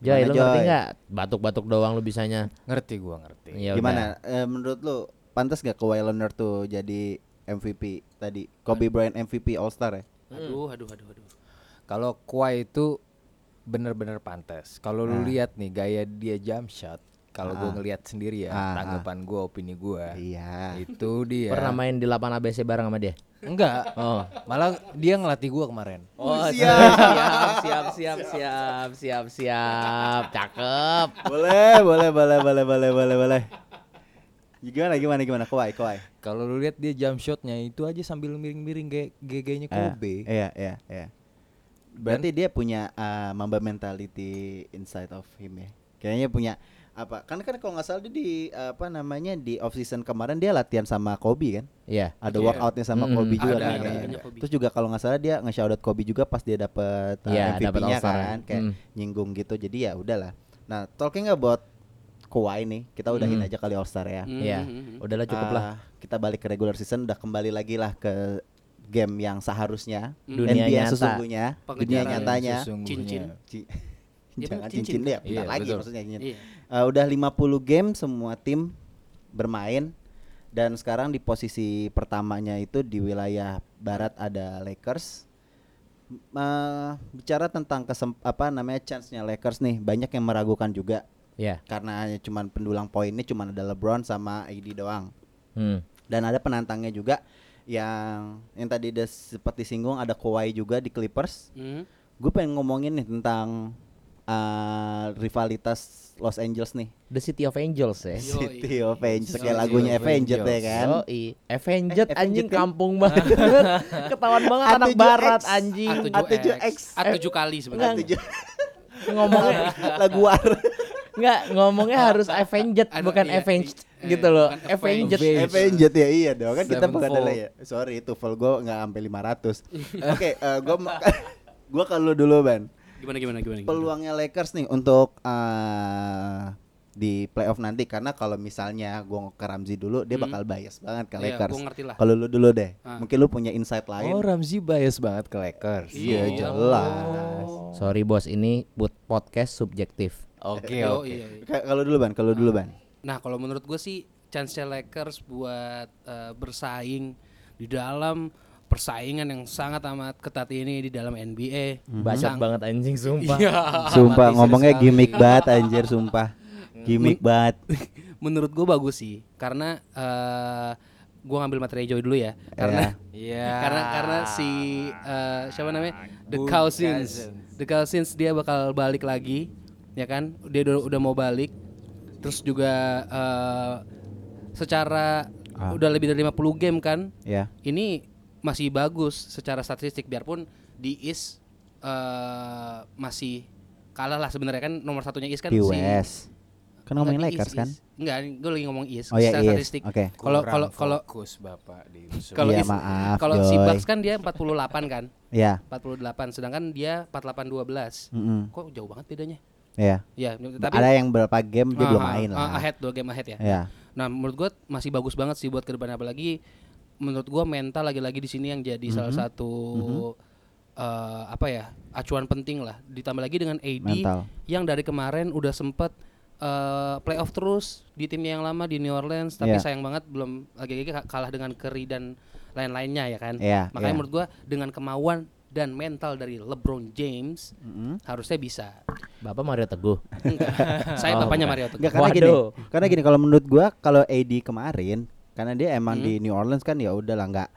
Joy? Joy, Gimana, lu ngerti Joy? nggak? Batuk-batuk doang lu bisanya. Ngerti gua ngerti. Ya Gimana eh, menurut lu pantas gak Kawhi Leonard tuh jadi MVP tadi? Kobe Bryant MVP All Star ya? Aduh aduh aduh aduh. Kalau Kawhi itu bener-bener pantas. Kalau lu lihat nih gaya dia jump shot, kalau gua ngelihat sendiri ya, Ah, tanggapan gua, opini gua. Iya. Itu dia. Pernah main di lapangan ABC bareng sama dia? Enggak. Oh. Malah dia ngelatih gua kemarin. Oh, siap, siap, siap, siap, siap, siap. Cakep. boleh, boleh, boleh, boleh, boleh, boleh, boleh. Gimana gimana gimana Kawhi, Kawhi. Kalau lu lihat dia jump shotnya itu aja sambil miring-miring kayak GG-nya Kobe. Iya, iya, iya. Berarti dia punya eh, Mamba mentality inside of him ya. Kayaknya punya apa? Kan kan kalau nggak salah dia di apa namanya di off season kemarin dia latihan sama Kobe kan? Iya. ada Iya. workoutnya sama Mm-mm. Kobe juga Ada, kan ada, kayaknya. ada Kobe. terus juga kalau nggak salah dia nge-shoutout Kobe juga pas dia dapet uh, Iya, dapet MVP-nya All-Star. kan kayak Mm. nyinggung gitu jadi ya udahlah nah talking about Kawhi nih kita udahin Mm. aja kali All Star Mm. ya Iya. Udahlah cukup lah. Ah, kita balik ke regular season udah kembali lagi lah ke game yang seharusnya Dunia NBA nyata. sesungguhnya dunia Pengejaran. Iya, nyatanya Sesungguhnya. Cincin. Ci- Ya, jangan cincin. cincin deh Iya, bentar lagi betul. maksudnya cincin. Iya. Eh, udah 50 game semua tim bermain dan sekarang di posisi pertamanya itu di wilayah barat ada Lakers. M- eh, bicara tentang kesem- apa namanya chance-nya Lakers nih, banyak yang meragukan juga Iya. karena hanya cuman pendulang poinnya cuman ada LeBron sama AD doang. Hmm. Dan ada penantangnya juga yang yang tadi udah sempat disinggung ada Kawhi juga di Clippers Mhm. gue pengen ngomongin nih tentang uh, rivalitas Los Angeles nih The City of Angels ya. Yo. Yoi. City of Angels kayak Yoi. lagunya Yoi. Avenged ya kan Yoi. Avenged anjing Eh, Avenged kan? kampung banget. Ketahuan banget anak A7X. barat anjing. A7X. A7 kali sebenarnya. Tujuh- Ngomongnya lagu war enggak ngomongnya harus Avenged Aduh, bukan iya, Avenged iya, gitu loh. bukan Avenged. Avenged. Avenged ya iya dong kan kita bukan Sevenfold. ada ya sorry itu full gue nggak sampai 500 oke eh, gue gue kalau dulu ban Gimana gimana gimana. gimana? peluangnya Lakers nih untuk uh, di playoff nanti karena kalau misalnya gue ke Ramzi dulu dia bakal bias banget ke Hmm. Iya, Lakers gua ngerti lah. kalau lu dulu deh Ah. mungkin lu punya insight lain Oh Ramzi bias banget ke Lakers. Iya Iya. jelas. Sorry bos, ini buat podcast subjektif. Oh. Oke Yo, oke. iya, iya. Ka- Kalau dulu ban, kalau dulu ban. Nah, kalau menurut gue sih chance Lakers buat eh, bersaing di dalam persaingan yang sangat amat ketat ini di dalam NBA. Bacot banget anjing sumpah. Iya. Sumpah mati ngomongnya sekali. gimmick banget anjir sumpah. Gimmick banget. menurut gue bagus sih karena eh gue ngambil materi Joy dulu ya karena Iya. karena karena si Ah. eh, siapa namanya The Cousins The Cousins dia bakal balik lagi ya kan dia udah, udah mau balik terus juga eh, secara Ah. udah lebih dari 50 game kan Ya. ini masih bagus secara statistik biarpun di East eh, masih kalah lah sebenarnya kan nomor satunya East kan Di si- US. Kan ngomongin Lakers kan? Enggak, gue lagi ngomong East. Oh ya secara iya. statistik. Oke. Kalau Kurang kalau kalau fokus Bapak di kalau Iya, East- maaf, kalau si Joy. Bucks kan dia 48 kan? Ya. 48 sedangkan dia 48 12. Mm-mm. Kok jauh banget bedanya? Ya. Ya, tapi Hmm. Ada yang berapa game dia belum Ah, main ah, lah. ahead dua game ahead ya. Ya. Nah, menurut gue masih bagus banget sih buat ke depan apalagi menurut gue mental lagi-lagi di sini yang jadi Mhm. salah satu eh, apa ya? acuan penting lah. Ditambah lagi dengan AD Mental. yang dari kemarin udah sempet eh, playoff terus di timnya yang lama di New Orleans tapi Iya. sayang banget belum lagi-lagi ka- kalah dengan Curry dan lain-lainnya ya kan. Iya, Makanya iya. menurut gua dengan kemauan dan mental dari LeBron James harusnya bisa. Bapak Mario Teguh. Enggak. Saya Oh, bapaknya bukan. Mario Teguh. Enggak kan? karena gini. Waduh. Karena gini kalau menurut gua kalau AD kemarin karena dia emang Hmm. di New Orleans kan ya udahlah nggak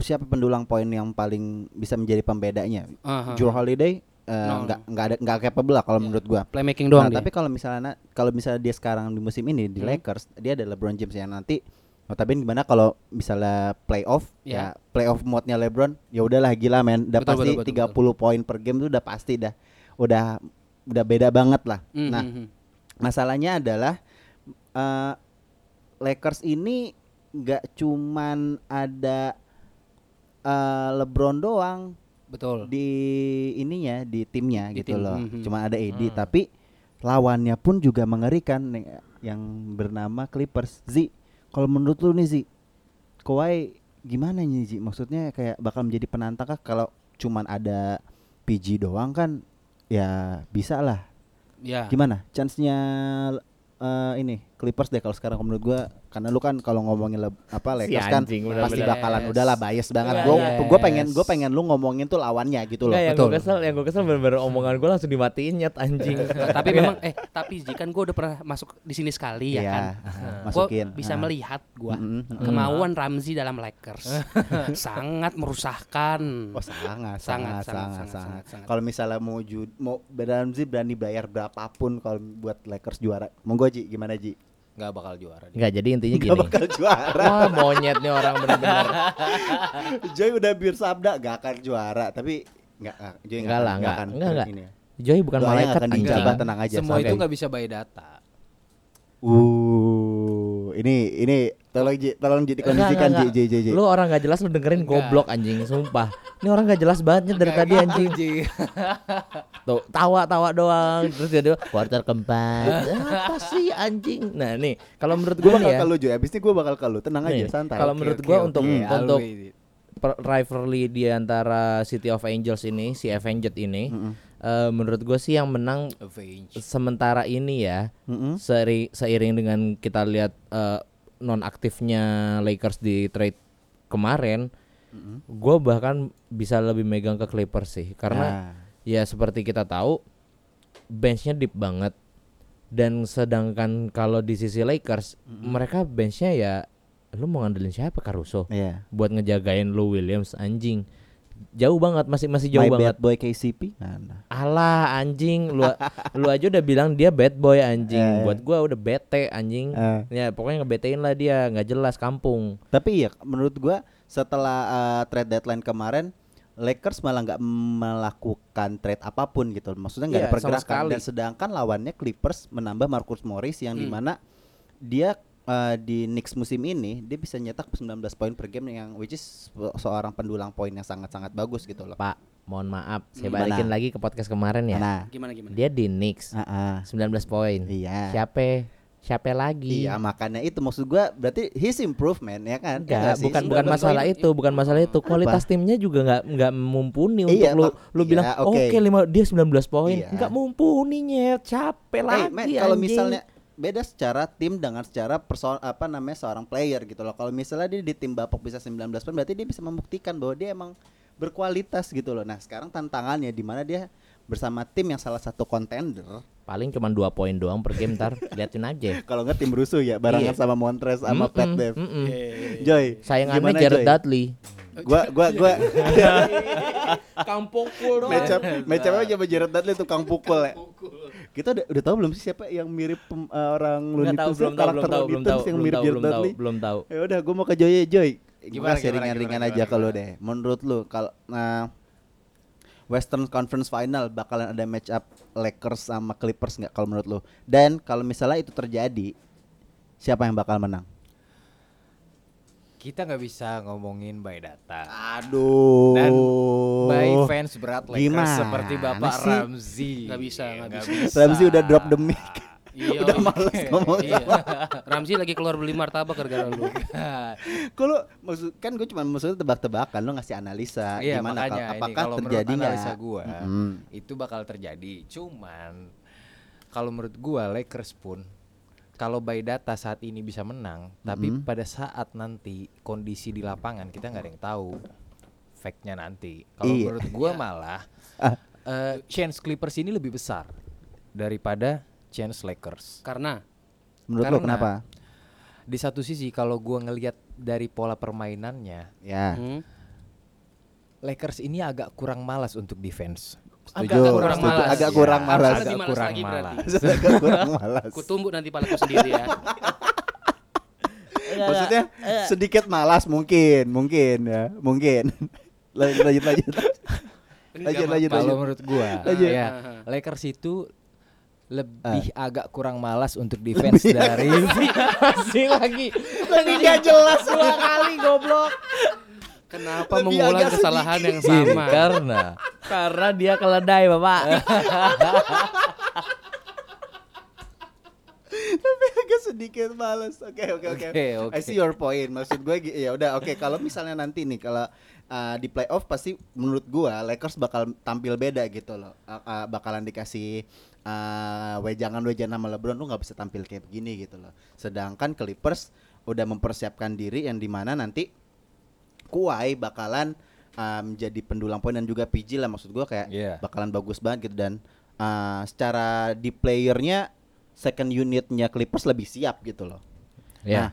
siapa pendulang poin yang paling bisa menjadi pembedanya. Aha. Drew Holiday eh, No, nggak nggak ada nggak capable lah Iya. kalau menurut gua. Playmaking Nah, doang dia. Hmm. tapi kalau misalnya kalau misalnya dia sekarang di musim ini di Lakers, dia ada LeBron James yang nanti notabene gimana kalau misalnya playoff Ya. ya playoff mode-nya LeBron ya udahlah gila men udah Betul, pasti betul, betul, 30 poin per game itu udah pasti dah udah udah beda banget lah. Mhm. Nah, masalahnya adalah eh, Lakers ini nggak cuman ada eh, LeBron doang betul. di ininya di timnya Di gitu tim, loh mhm. cuma ada AD tapi lawannya pun juga mengerikan nih, yang bernama Clippers Zi kalau menurut lu nih Zi Kawhi gimana nih Zi maksudnya kayak bakal menjadi penantang kah kalau cuman ada PG doang kan ya bisa lah ya. gimana chance-nya eh, ini Clippers deh kalau sekarang menurut gua karena lu kan kalau ngomongin leb- apa Si Lakers kan anjing, pasti bener-bener. bakalan Yes. udahlah bias banget gua Yes. gua pengen gua pengen lu ngomongin tuh lawannya gitu loh Enggak, yang betul. gue kesel, yang gue kesel bener-bener omongan gue langsung dimatiin nyet anjing. Nah, tapi memang eh tapi Ji kan gue udah pernah masuk di sini sekali ya Iya, kan. aha, Nah, masukin, Gua bisa ah. melihat gua Mm-mm, mm-mm. kemauan Ramzi dalam Lakers sangat merusakkan. Oh sangat, Sangat, sangat, sangat, sangat, sangat, sangat. sangat. Kalau misalnya mau ju- mau Ramzi berani bayar berapapun kalau buat Lakers juara. Monggo Ji, gimana Ji? nggak bakal juara dia. Enggak, jadi intinya Gak gini. bakal juara. Wah monyet nih orang bener-bener. Joy udah bersabda gak akan juara, tapi nggak nggak, Joy nggak Enggak lah, akan- enggak. nggak akan- Enggak, enggak. ini ya. Joy bukan Doanya malaikat akan anjing. dijabah, tenang aja. Semua santai. itu nggak bisa by data. Uh, ini ini tolong Ji, tolong Ji dikondisikan Ji, Enggak, Ji, Ji, enggak, Ji. enggak. Lu orang gak jelas lu dengerin goblok anjing, sumpah. Ini orang gak jelas banget nih dari tadi anjing. Tuh, tawa-tawa doang. Terus dia dia, quarter keempat. Apa sih anjing? Nah, nih, kalau menurut Gue gua bakal nih ya. ke lu Joy, abis ini gue bakal ke lu, tenang aja, nih, santai. Kalau Oke, menurut oke, gua oke. untuk Iya, untuk always. per- rivalry di antara City of Angels ini, si Avenged ini, eh, menurut gua sih yang menang Avenge. sementara ini ya Mm-mm. seri- seiring dengan kita lihat eh, nonaktifnya Lakers di trade kemarin gue bahkan bisa lebih megang ke Clippers sih Nah. karena ya seperti kita tahu benchnya deep banget dan sedangkan kalau di sisi Lakers mereka benchnya ya lu mau ngandelin siapa Caruso Iya. buat ngejagain Lou Williams anjing jauh banget masih masih jauh My banget bad boy KCP. Nah, nah. Alah anjing lu lu aja udah bilang dia bad boy anjing. Eh. Buat gua udah bete anjing. Eh. Ya pokoknya ngebetein lah dia, nggak jelas kampung. Tapi ya menurut gua setelah eh, trade deadline kemarin Lakers malah nggak melakukan trade apapun gitu. Maksudnya nggak ada Iya, sama pergerakan sekali. dan sedangkan lawannya Clippers menambah Marcus Morris yang Hmm. dimana dia eh, di Knicks musim ini dia bisa nyetak 19 poin per game yang which is se- seorang pendulang poin yang sangat-sangat bagus gitu loh. Pak, mohon maaf, saya Gimana? balikin lagi ke podcast kemarin ya. Nah, Gimana gimana? Dia di Knicks ah-ah. 19 poin. Iya. Siapa? Siapa lagi? Iya, makanya itu maksud gua berarti his improvement ya kan? Enggak, Ya nggak sih? bukan bukan 19 masalah poin. itu, bukan masalah itu. Kualitas timnya juga nggak nggak mumpuni untuk Iya, lu Pak. lu bilang Iya, oke oke. lima dia 19 poin. Iya. Nggak mumpuni nyet, capek Eh, lagi Matt, kalau anjing. misalnya beda secara tim dengan secara perso apa namanya seorang player gitu loh. Kalau misalnya dia di tim Bapak bisa 19 poin berarti dia bisa membuktikan bahwa dia emang berkualitas gitu loh. Nah, sekarang tantangannya di mana dia bersama tim yang salah satu kontender. paling cuma dua poin doang per game ntar liatin aja. Kalau nggak tim rusuh ya barengan sama Montres Iya. Mm-mm, sama Pat Bev. mm-mm. Joy, Sayangannya gimana, Jared Joy? Dudley. Gua gua gua Kampung pukul match up match up aja sama Jared Dudley tukang pukul ya. Kita udah, udah tahu belum sih siapa yang mirip pem- eh, orang Looney Belum tahu, Tunes belum tahu, karakter belum tahu, Looney belum tahu, Tunes yang belum mirip tahu, Jared belum tahu, Dudley? belum tahu. Ya udah, gue mau ke Joy ya, Joy. Gimana, Gimana kasih gimana, ringan-ringan gimana, aja gimana, kalau deh. Menurut lu kalau nah, Western Conference Final bakalan ada match up Lakers sama Clippers nggak kalau menurut lu? Dan kalau misalnya itu terjadi, siapa yang bakal menang? Kita nggak bisa ngomongin by data. Aduh. Dan By fans berat Lakers Gimana seperti Bapak sih? Ramzi. Nggak bisa, nggak bisa. Ramzi udah drop the mic. Iya, udah iya. males ngomong. Iya. Ramzi lagi keluar beli martabak gara-gara lu. Iya. Kalau maksud kan gue cuma maksudnya tebak-tebakan lo ngasih analisa Iya, gimana makanya kalau ini apakah kalau menurut terjadi nggak? analisa gua Mm-mm. itu bakal terjadi. Cuman kalau menurut gua Lakers pun kalau by data saat ini bisa menang, tapi Mhm. pada saat nanti kondisi di lapangan kita nggak ada yang tahu fact-nya nanti. Kalau Iya. menurut gua malah Ah. eh, chance Clippers ini lebih besar daripada chance Lakers. Karena Menurut lo Karena- kenapa? Di satu sisi kalau gua ngelihat dari pola permainannya, Ya. hmm, Lakers ini agak kurang malas untuk defense. Setuju, setuju. Agak Ya, kurang malas. Agak Lebih malas kurang lagi berarti. malas. Agak kurang malas. ku tumbuk nanti palaku sendiri ya. Maksudnya sedikit malas mungkin, mungkin ya, mungkin. lanjut lanjut lanjut. Lanjut Enggak lanjut Kalau lanjut. menurut gua, Lanjut. Ah. ya Lakers itu lebih agak kurang malas untuk defense dari Masih lagi. Lagi Iya. nggak jelas Dua kali goblok. Kenapa Lebih mengulang agak Iya, kesalahan yang Gini, sama? Ya karena kan? Karena dia keledai, Bapak. tapi agak sedikit malas. Oke oke oke. Oke, oke. I see your point. Maksud gue gi- ya udah oke kalau misalnya nanti nih kalau uh, di playoff pasti menurut gue Lakers bakal tampil beda gitu loh. Uh, uh, bakalan dikasih uh, wejangan-wejangan sama LeBron lu nggak bisa tampil kayak begini gitu loh. Sedangkan Clippers udah mempersiapkan diri yang dimana nanti Kuai bakalan uh, menjadi pendulang poin dan juga PG lah maksud gue kayak Iya. bakalan bagus banget gitu dan uh, secara di playernya second unitnya Clippers lebih siap gitu loh. Nah,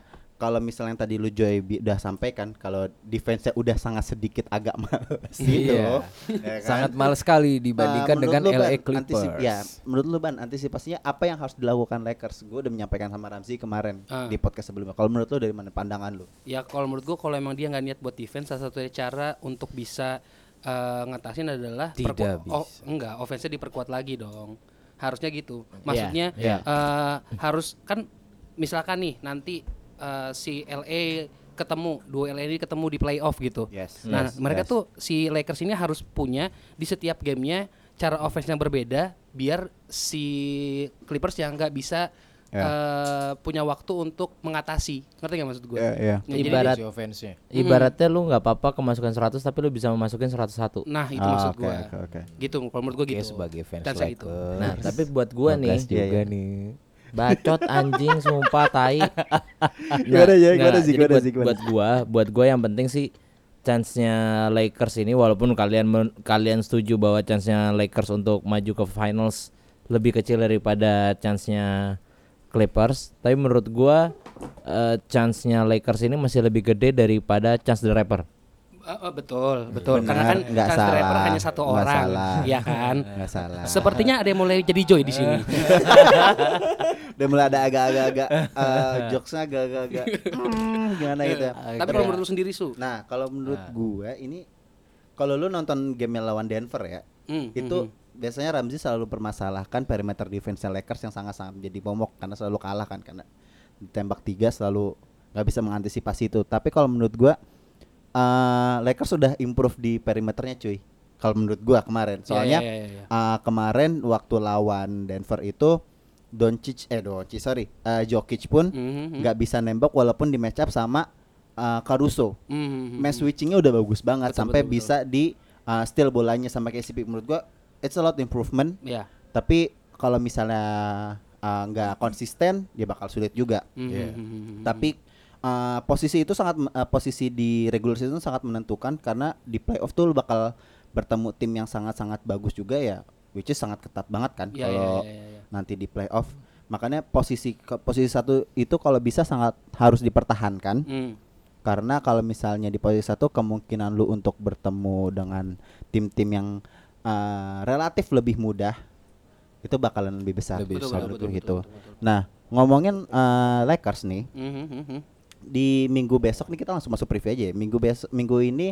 Ya. kalau misalnya yang tadi lu Joy bi- udah sampaikan kalau defense-nya udah sangat sedikit agak males gitu Iya. loh. ya kan? sangat malas sekali Nah, dibandingkan menurut dengan lu, Ban, LA antisip- Clippers. Iya, ya, menurut lu Ban, antisipasinya apa yang harus dilakukan Lakers? Gue udah menyampaikan sama Ramzi kemarin Ah. di podcast sebelumnya. Kalau menurut lu dari mana pandangan lu? Ya kalau menurut gua kalau emang dia nggak niat buat defense salah satunya cara untuk bisa eh, ngatasin adalah Tidak perku- bisa. o- enggak offense diperkuat lagi dong. Harusnya gitu. Ya, Maksudnya iya. eh, harus kan misalkan nih nanti eh, si LA ketemu dua LA ini ketemu di playoff gitu. Yes. Nah, Yes, mereka yes. tuh si Lakers ini harus punya di setiap gamenya cara offense yang berbeda biar si Clippers yang nggak bisa Ya. eh, punya waktu untuk mengatasi. Ngerti nggak maksud gue? Ya, ya. Nah, jadi Ibarat- Si offense-nya. Ibaratnya lu nggak apa-apa kemasukan 100 tapi lu bisa memasukin 101. Nah itu Ah, maksud oke, gua oke, oke. Gitu kalau menurut gua Oke, gitu sebagai fans Kan saya Lakers. gitu. Nah, tapi buat gua nih, Bagas juga Iya, iya. nih. bacot anjing sumpah tai. Nah, Gimana, Jay? nggak, Gimana, Zik? jadi Gimana, buat, Zik? Gimana? buat gua, buat gua yang penting sih chance-nya Lakers ini walaupun kalian men- kalian setuju bahwa chance-nya Lakers untuk maju ke finals lebih kecil daripada chance-nya Clippers, tapi menurut gua eh, chance-nya Lakers ini masih lebih gede daripada chance The Rapper. Eh, eh, betul betul Benar, karena kan nggak chance salah, driver hanya satu nggak orang salah. ya kan Nggak salah. Eh, iya. sepertinya ada yang mulai jadi joy di sini Udah mulai ada agak-agak eh, jokesnya agak-agak hmm, gimana gitu. ya. tapi kalau menurut lu sendiri su Nah, kalau menurut gue ini kalau lu nonton game lawan Denver ya, Hmm, itu biasanya Ramzi selalu permasalahkan perimeter defense Lakers yang sangat-sangat menjadi momok karena selalu kalah kan karena ditembak tiga selalu nggak bisa mengantisipasi itu. Tapi kalau menurut gua eh, Lakers sudah improve di perimeternya cuy. Kalau menurut gua kemarin, soalnya ya, ya, ya. eh, kemarin waktu lawan Denver itu Doncic eh Doncic sorry, eh, Jokic pun Mhm. nggak bisa nembak walaupun di match up sama eh, Caruso Mhm. match switchingnya udah bagus banget Betul, sampai betul, bisa di uh, steal bolanya sama kayak CP menurut gua it's a lot improvement ya tapi kalau misalnya uh, nggak konsisten dia bakal sulit juga Mhm. Iya. Mhm. tapi uh, posisi itu sangat uh, posisi di regular season sangat menentukan karena di playoff tuh lu bakal bertemu tim yang sangat-sangat bagus juga ya which is sangat ketat banget kan Ya, ya, kalau ya, ya, ya. nanti di playoff makanya posisi ke- posisi satu itu kalau bisa sangat harus dipertahankan Hmm. karena kalau misalnya di posisi satu kemungkinan lu untuk bertemu dengan tim-tim yang eh, relatif lebih mudah itu bakalan lebih besar. Lebih Kalau besar. menurut Betul, gua betul, gitu. betul, betul, Nah, ngomongin eh, Lakers nih Mhm, mhm. di minggu besok nih kita langsung masuk preview aja ya. Minggu besok minggu ini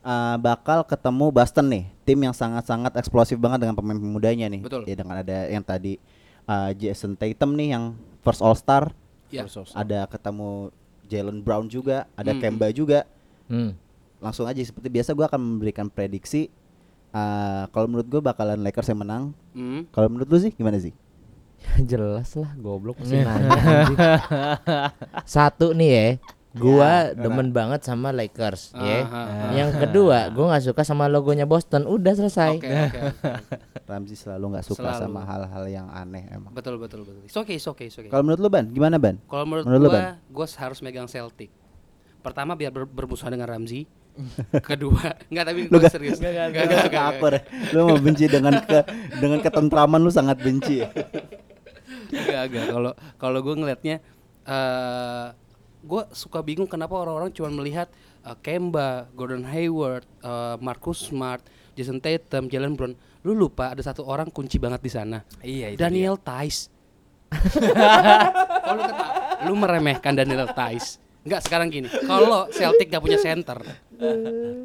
eh, bakal ketemu Boston nih, tim yang sangat-sangat eksplosif banget dengan pemain mudanya nih. Betul. Ya dengan ada yang tadi eh, Jason Tatum nih yang first All Star, Ya. ada ketemu Jalen Brown juga, ada Hmm. Kemba juga Hmm. langsung aja seperti biasa gua akan memberikan prediksi eh, kalau menurut gue bakalan Lakers yang menang Mhm. kalau menurut lu sih gimana sih Jelas lah goblok mesti nanya anjing. Satu nih ya Gua Ya, demen banget sama Lakers ya. Aha. Yang kedua gua nggak suka sama logonya Boston Udah selesai Oke, oke, oke. Ramzi selalu nggak suka Selalu. sama hal-hal yang aneh emang. Betul betul betul. It's okay, it's okay, it's okay. Kalau menurut lu Ban, gimana Ban? Kalau menurut, menurut lu, gua, gua harus megang Celtic. Pertama biar ber- bermusuhan dengan Ramzi. Kedua, enggak tapi Lu gua nggak- serius. Enggak, Gak apa Lu mau benci dengan ke, dengan ketentraman lu sangat benci. ya? Enggak, enggak. Kalau kalau gue ngelihatnya eh gue suka bingung kenapa orang-orang cuma melihat eh, Kemba, Gordon Hayward, eh, Marcus Smart, Jason Tatum, Jalen Brown. Lu lupa ada satu orang kunci banget di sana. Iya, itu Daniel Tice. kalau Oh, lu, keta- lu meremehkan Daniel Tice. Enggak sekarang gini, kalau Celtic gak punya center,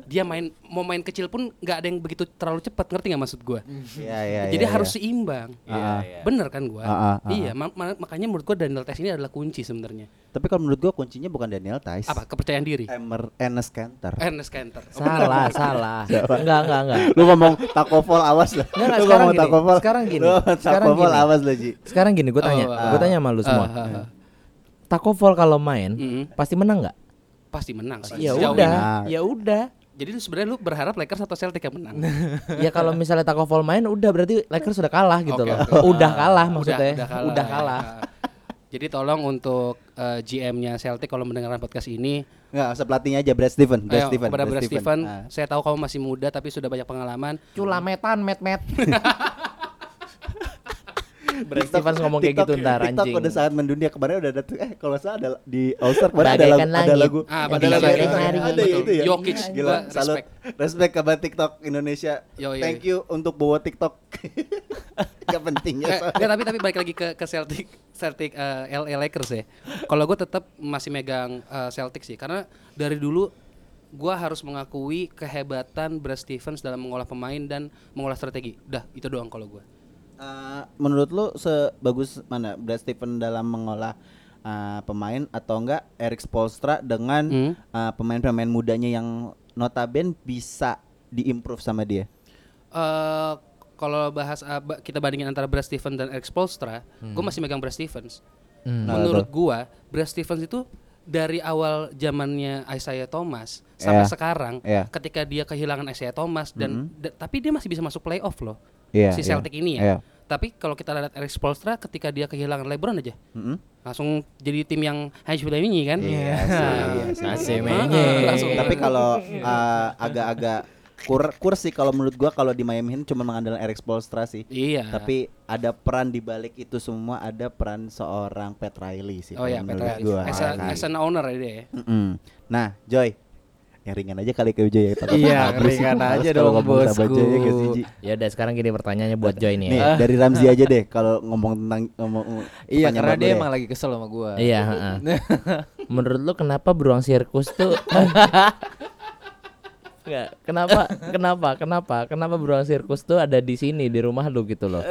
dia main mau main kecil pun nggak ada yang begitu terlalu cepat, ngerti nggak maksud gue? Iya iya. Jadi iya, harus iya. seimbang. Iya, iya. Bener kan gua? Ah, ah, ah, Iya, ma- ma- makanya menurut gua Daniel Tes ini adalah kunci sebenarnya. Tapi kalau menurut gua kuncinya bukan Daniel Tice. Apa? Kepercayaan diri. Emer Enes Kanter. Ernest Kanter. Salah, salah. Enggak, enggak, enggak. lu ngomong takovol awas lah. Enggak, enggak, Eh, Lu sekarang ngomong gini, takovol. sekarang gini, Lu ngomong sekarang takovol gini. awas lah Ji. Sekarang gini, gue tanya, Oh, gue tanya sama lu ah, semua. ah, Hmm. ah. Takovol kalau main Mm-mm. pasti menang nggak? Pasti menang sih. Ya sejauh udah, ini. ya udah. Jadi lu sebenarnya lu berharap Lakers atau Celtic yang menang. Ya kalau misalnya Takovol main udah berarti Lakers sudah kalah gitu Oke, loh. oke. Udah kalah udah, maksudnya. ya? udah kalah. Ah. Jadi tolong untuk eh, GM-nya Celtic kalau mendengarkan podcast ini, Enggak, usah pelatihnya aja Brad Steven, Brad ayo, Steven. kepada Brad Steven, Ah. saya tahu kamu masih muda tapi sudah banyak pengalaman. Culametan, met-met. Brad Stevens ngomong kayak gitu ntar TikTok anjing. udah sangat mendunia kemarin udah ada tuh eh kalau saya ada di All Star kemarin ada lagu Bagaikan ada langit. lagu Ah, ada bagaikan lagu langit. ada ya Betul. itu ya. Jokic, gila gua salut. respect. Respect kepada TikTok Indonesia. Yo, yo, Thank you untuk bawa TikTok. Gak penting ya. Eh, soalnya. enggak, tapi tapi balik lagi ke ke Celtic Celtic eh, LA Lakers ya. Kalau gue tetap masih megang eh, Celtic sih karena dari dulu gue harus mengakui kehebatan Brad Stevens dalam mengolah pemain dan mengolah strategi. Udah, itu doang kalau gue. Eh, menurut lu sebagus mana Brad Steven dalam mengolah eh, pemain atau enggak Eric Spoelstra dengan Hmm. eh, pemain-pemain mudanya yang notaben bisa diimprove sama dia? eh kalau bahas eh, ba- kita bandingin antara Brad Stevens dan Eric Spoelstra, Hmm. gue masih megang Brad Stevens. Nah, Menurut gue, Brad Stevens itu dari awal zamannya Isaiah Thomas sampai Iya. sekarang, Iya. ketika dia kehilangan Isaiah Thomas Hmm. dan da- tapi dia masih bisa masuk playoff loh, Iya, si iya. Celtic ini ya. Iya. Tapi kalau kita lihat Eric Spoelstra, ketika dia kehilangan LeBron aja, Mm-mm. langsung jadi tim yang hancur ini kan? Mm-hmm. Iya sih, iya sih. Masih Langsung. menye. Tapi kalau eh, agak-agak kur kursi kalau menurut gua kalau di Miami Heat cuma mengandalkan Eric Spoelstra sih. Iya. Tapi ada peran di balik itu semua ada peran seorang Pat Riley sih. oh kalau ya, menurut Petra, gua. as, a- Nah, as an owner ya dia. ya. Mm-mm. Nah, Joy, yang ringan aja kali ke Joy ya. takut Iya, habis sih. ringan Males aja kalau dong, ngomong sama bosku. Joy ya nggak sih, Ji? Ya udah sekarang gini pertanyaannya buat Joy nih. Nih, ya. dari Ramzi aja deh kalau ngomong tentang ngomong Iya, pertanyaan karena buat ya. dia lu emang lagi kesel sama gua. Iya, heeh. Menurut lu kenapa beruang sirkus tuh Enggak, kenapa kenapa kenapa kenapa beruang sirkus tuh ada di sini di rumah lu gitu loh.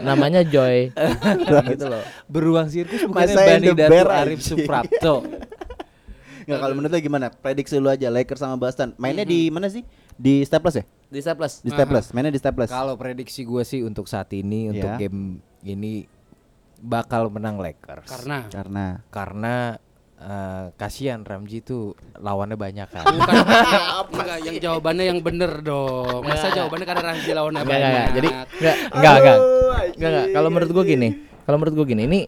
Namanya Joy. gitu loh. Beruang sirkus bukannya Masa yang Bani the Datu bear Arif anjing. Suprapto. Nggak, kalau menurut lu gimana? Prediksi lu aja Lakers sama Boston. Mainnya di Mm-hmm. mana sih? Di Staples ya? Di Staples. Di Staples. Mainnya di Staples. Kalau prediksi gua sih untuk saat ini untuk Iya. game ini bakal menang Lakers. Karena Karena karena eh, kasihan Ramji tuh lawannya banyak kan. Bukan, ya, enggak, yang jawabannya yang bener dong. Iya. Masa jawabannya karena Ramzi lawan apa? Enggak, enggak, enggak. Jadi enggak, enggak, enggak. Enggak, enggak. Kalau menurut gua gini, kalau menurut gua gini, ini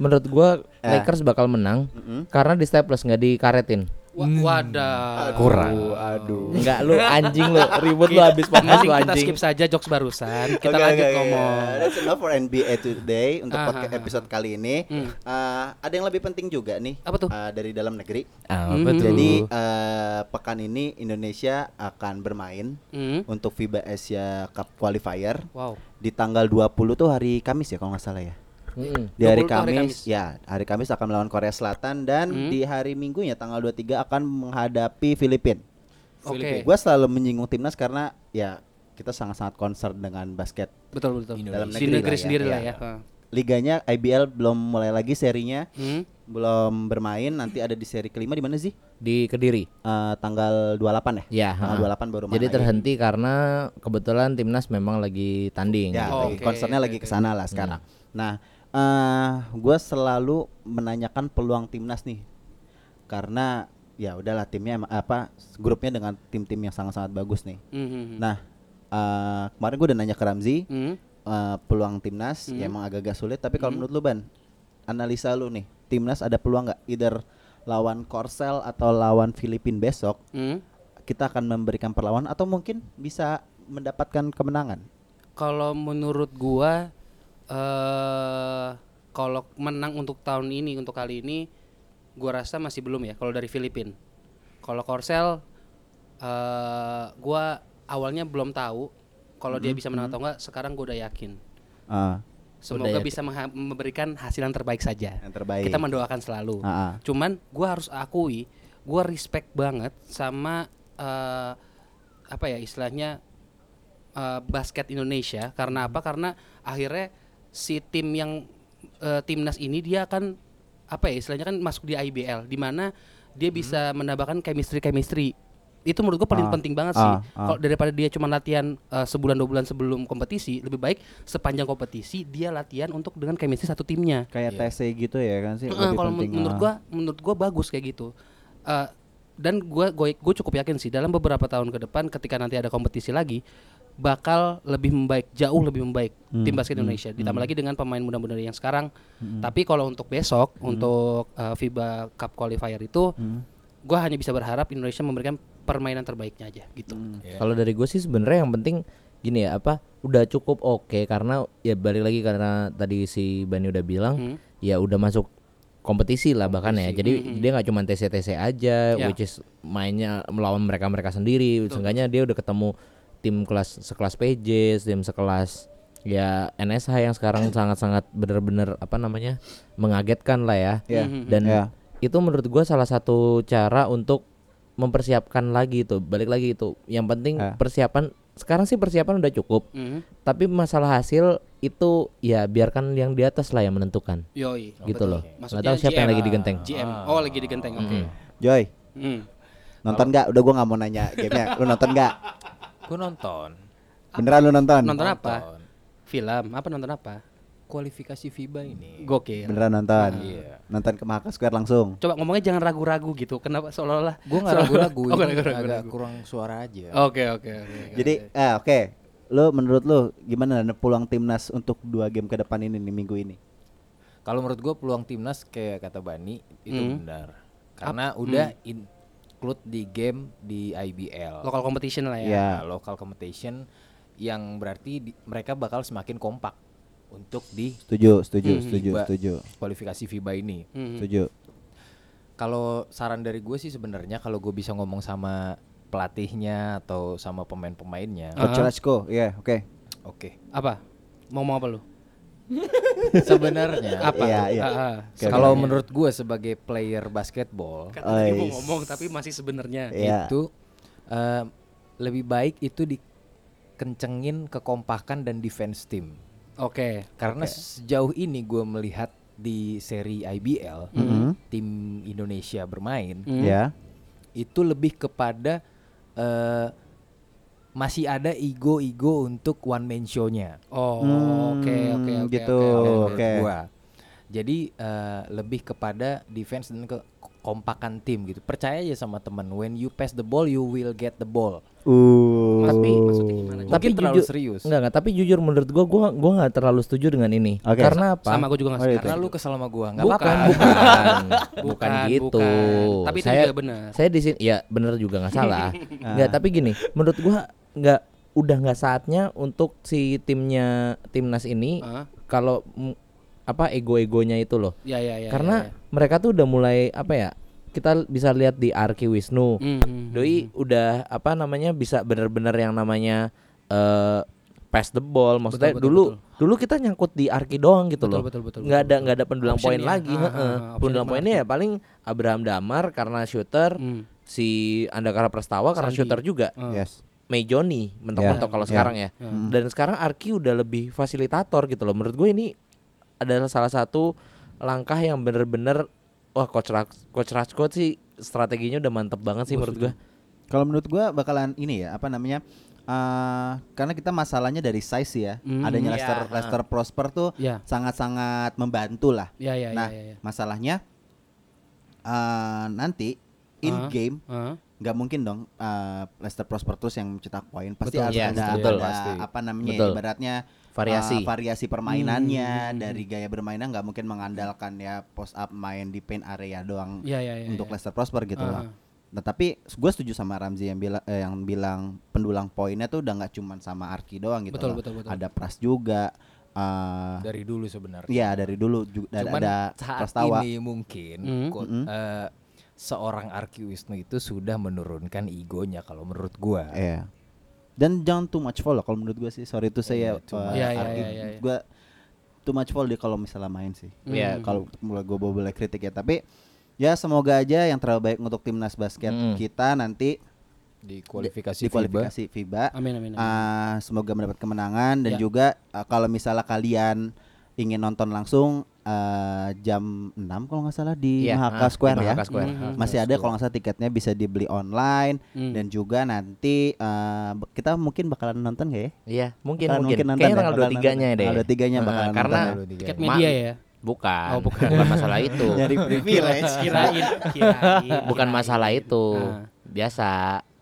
menurut gua Eh. Lakers bakal menang karena di Staples nggak dikaretin. wadah. Kurang. aduh. Enggak lu anjing lu, ribut lu habis podcast Mending lu kita anjing. skip saja jokes barusan. Kita Oke, lanjut oke, oke. ngomong. That's enough for NBA today untuk Ah, podcast ah, ah. episode kali ini. Hmm. Eh, ada yang lebih penting juga nih. Apa tuh? eh, dari dalam negeri. Ah, Mhm. betul. Jadi eh, pekan ini Indonesia akan bermain Hmm. untuk FIBA Asia Cup qualifier Wow. di tanggal 20 tuh hari Kamis ya kalau nggak salah ya. Mm-mm. Di hari 20 tuh hari Kamis, Kamis. ya, hari Kamis akan melawan Korea Selatan dan Hmm. di hari Minggunya tanggal 23 akan menghadapi Filipina. Oke. Gue selalu menyinggung timnas karena ya kita sangat-sangat concern dengan basket Betul betul. Dalam negeri Di negeri lah ya, sendiri lah iya. ya. liganya IBL belum mulai lagi serinya Hmm. belum bermain nanti ada di seri kelima di mana sih Di Kediri. Eh, tanggal 28 ya Iya, Ya, ha. tanggal 28 baru main Jadi lagi. terhenti karena kebetulan timnas memang lagi tanding. ya Oh, lagi- oke, concernnya oke, lagi oke. ke sana lah sekarang nah eh gue selalu menanyakan peluang timnas nih karena ya udahlah timnya emang- apa grupnya dengan tim-tim yang sangat-sangat bagus nih Hmm, hmm, hmm. nah eh, kemarin gue udah nanya ke Ramzi Hmm. eh, peluang timnas ya emang agak-agak sulit tapi kalau menurut lu ban analisa lu nih timnas ada peluang nggak either lawan Korsel atau lawan Filipin besok Hmm. kita akan memberikan perlawanan atau mungkin bisa mendapatkan kemenangan Kalau menurut gua eh kalau menang untuk tahun ini untuk kali ini gua rasa masih belum ya kalau dari Filipina. Kalau Korsel eh gua awalnya belum tahu kalau dia bisa menang atau enggak, sekarang gua udah yakin. Ah, Semoga bisa mengha- memberikan hasil yang terbaik saja. yang terbaik Kita mendoakan selalu. Ah, ah. Cuman gua harus akui, gua respect banget sama eh, apa ya istilahnya eh, basket Indonesia. Karena apa? Karena akhirnya si tim yang eh, timnas ini dia akan apa ya istilahnya kan masuk di IBL, di mana dia bisa menambahkan chemistry-chemistry. Itu menurut gua paling Hmm. Ah, penting banget ah, sih. ah. Kalau daripada dia cuma latihan eh, sebulan dua bulan sebelum kompetisi, lebih baik sepanjang kompetisi dia latihan untuk dengan chemistry satu timnya. kayak TC gitu ya Iya, kan sih Heeh, lebih kalau men- penting, menurut ah. gua menurut gua bagus kayak gitu Eh, dan gua gua gua cukup yakin sih dalam beberapa tahun ke depan ketika nanti ada kompetisi lagi bakal lebih membaik jauh lebih membaik Hmm, tim basket Indonesia ditambah lagi dengan pemain muda-muda yang sekarang tapi kalau untuk besok Hmm. untuk eh, FIBA Cup qualifier itu gua hanya bisa berharap Indonesia memberikan permainan terbaiknya aja gitu Kalau dari gue sih sebenarnya yang penting gini ya apa udah cukup oke karena ya balik lagi karena tadi si Bani udah bilang Hmm. ya udah masuk kompetisi lah bahkan ya. Jadi dia nggak cuma TC-TC aja Ya. which is mainnya melawan mereka-mereka sendiri. Seenggaknya dia udah ketemu tim kelas sekelas PJ, tim sekelas ya NSH yang sekarang sangat-sangat benar-benar apa namanya mengagetkan lah ya. Iya. Dan Iya. itu menurut gua salah satu cara untuk mempersiapkan lagi itu balik lagi itu yang penting Ah. persiapan sekarang sih persiapan udah cukup Mhm. tapi masalah hasil itu ya biarkan yang di atas lah yang menentukan Yoi gitu loh nggak Maksudnya tahu siapa yang GM. lagi digenteng GM oh lagi digenteng oke Joy Hmm. nonton nggak udah gua nggak mau nanya gamenya lu nonton nggak Gue nonton. beneran lu nonton nonton apa Nonton. film apa nonton apa Kualifikasi FIBA Iya. ini. gokil beneran nonton Ah, Iya. nonton ke Mahaka Square langsung Coba ngomongnya jangan ragu-ragu gitu. Kenapa seolah-olah Gue nggak ragu-ragu. Oh, nggak ini ragu-ragu. agak kurang suara Oh. aja. Oke, oke, oke. oke. Jadi eh, oke, lu menurut lu gimana peluang timnas untuk dua game ke depan ini nih minggu ini? Kalau menurut gue peluang timnas kayak kata Bani itu Mhm. Hmm. benar. Karena udah hmm. include di game di IBL. local competition lah ya. Iya. Nah, local competition yang berarti di- mereka bakal semakin kompak untuk di Setuju, setuju, Hmm, setuju, FIBA, setuju, kualifikasi FIBA ini. Mhm. setuju. Kalau saran dari gue sih sebenarnya kalau gue bisa ngomong sama pelatihnya atau sama pemain-pemainnya, Coach Rasko, ya oke. oke. Apa? Mau ngomong apa lu? sebenarnya Apa? Iya, iya. Ah, ah. Oke, kalau oke. menurut gue sebagai player basketball Kata Kan tadi mau Ais. ngomong tapi masih sebenarnya. Iya. itu eh, lebih baik itu dikencengin kekompakan dan defense team. Oke. Karena sejauh ini gue melihat di seri IBL Mhm. tim Indonesia bermain Hmm. Ya. itu lebih kepada eh, masih ada ego-ego untuk one man show-nya. Oh, Hmm, oke, oke, oke. gitu. Kalau oke, oke. Oh, menurut oke. gua. Jadi eh, lebih kepada defense dan ke kompakan tim gitu. Percaya aja sama temen. When you pass the ball, you will get the ball. Uh. Tapi Hmm. maksudnya gimana? Mungkin Tapi Tapi terlalu jujur- serius. enggak enggak tapi jujur menurut gua gua gua nggak terlalu setuju dengan ini Oke. karena apa sama gue juga enggak Karena lu kesel sama gua, nggak bukan, apa-apa. bukan, bukan, Bukan, gitu. bukan. Tapi itu saya, juga benar. Saya di sini, ya benar juga nggak salah. Nggak, tapi gini, menurut gua nggak udah nggak saatnya untuk si timnya timnas ini Ah. kalau mm, apa ego-egonya itu loh. Ya, ya, ya. Karena mereka tuh udah mulai apa ya? Kita bisa lihat di Arki Wisnu. ya, ya. Mhm. Doi gitu udah apa namanya bisa bener-bener yang namanya eh pass the ball maksudnya Betul, betul, dulu dulu kita nyangkut di Arki doang gitu Betul, loh betul, betul, nggak betul, ada nggak ada pendulang Option poin ya. lagi Ah, heeh. ah, ah, option pendulang cuma poinnya ya paling Abraham Damar karena shooter Hmm. si Andakara Prastawa karena Sandi. Ah. shooter juga Yes. Mejoni mentok-mentok Ya. kalau Ya. sekarang ya. Dan sekarang Arki udah lebih fasilitator gitu loh. Menurut gue ini adalah salah satu langkah yang bener-bener wah coach Ras- coach Rasko sih strateginya udah mantep banget sih menurut gue. Kalau menurut gua bakalan ini ya, apa namanya? eh, karena kita masalahnya dari size sih ya. Hmm. Iya, Adanya Lester ha. Lester Prosper tuh Iya. Ya. sangat-sangat membantu lah. Ya, ya, ya, nah, ya, ya. masalahnya eh, nanti in Ah. game Ah. nggak mungkin dong eh, Leicester prosper terus yang mencetak poin pasti Betul. harus Iya, ada, betul, ada pasti. apa namanya Betul. ibaratnya Variasi. Hmm. eh, variasi permainannya dari gaya bermainnya nggak mungkin mengandalkan ya post up main di paint area doang Iya, iya, iya, untuk iya. Leicester prosper gitu Ah. lah nah tapi gue setuju sama Ramzi yang bilang eh, yang bilang pendulang poinnya tuh udah nggak cuman sama Arki doang gitu Betul, lah. betul, betul. ada Pras juga eh, dari dulu sebenarnya. Iya dari dulu juga ada, Cuman ada saat Prastawa. ini mungkin Mm. ko- eh, seorang Arki Wisnu itu sudah menurunkan egonya kalau menurut gua. Iya. Dan jangan too much follow kalau menurut gue sih. Sorry ya, itu saya Iya, iya, iya, iya, Hmm. iya. gue eh, too much follow dia kalau misalnya main sih. Iya. Kalau mulai gue boleh kritik ya, tapi ya semoga aja yang terbaik untuk timnas basket Mm. Hmm. kita nanti di kualifikasi di FIBA. kualifikasi FIBA. Amin, amin, amin. Ah, semoga mendapat kemenangan dan Ya. juga ah, kalau misalnya kalian ingin nonton langsung ah, jam 6 kalau nggak salah di Iya, Mahaka ah, di Square ya. Mahaka Square. Mhm. Masih ada kalau nggak salah tiketnya bisa dibeli online Hmm. dan juga nanti ah, be- kita mungkin bakalan nonton gak ya? Iya, mungkin Bakalan mungkin. nonton Kayaknya ya, tanggal bakalan 23-nya nonton. deh. Tanggal 23-nya Nah, bakalan karena nonton. Tiket Ma- media ya. bukan. Oh, bukan. bukan masalah itu. Dari privilege. Kirain, kirain. bukan masalah itu. Nah. Biasa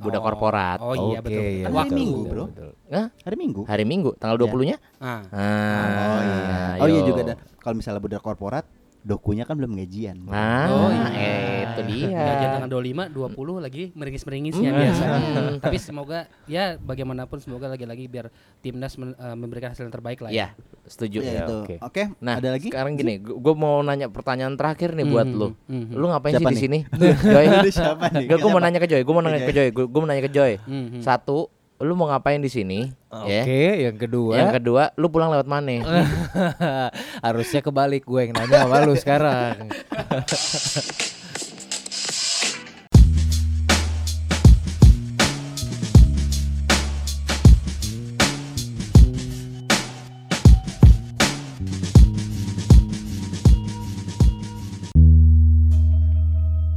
budak Oh. korporat. Oh iya Oke, betul. iya, betul. Kan Waktu. hari Minggu, Bro. betul. Hah? Hari Minggu. Hari Minggu tanggal 20-nya? Ah. Ah, Oh iya. Oh iya ayo. juga ada. Kalau misalnya budak korporat, dokunya kan belum gajian. Nah, Oh, iya. eh, itu dia. Gajian tanggal 25, 20 lagi meringis-meringisnya biasanya. Tapi semoga ya bagaimanapun semoga lagi-lagi biar timnas men- eh, memberikan hasil yang terbaik lah. Iya, setuju. Ya, itu. Oke. Oke. Nah, ada lagi? sekarang gini, gue mau nanya pertanyaan terakhir nih buat Mhm, lu. mhm. Lu ngapain sih di Siapa nih? sini? Joy. Ini siapa nih? Gak, gue mau Siapa? Iya, nanya ke Joy. Gue mau nanya Oke. ke Joy. Gue mau nanya ke Joy. Mhm. Satu, lu mau ngapain di sini? Ah, Oke, Ya. Eh, yang kedua Yang kedua, lu pulang lewat mana? harusnya kebalik gue yang nanya sama lu sekarang.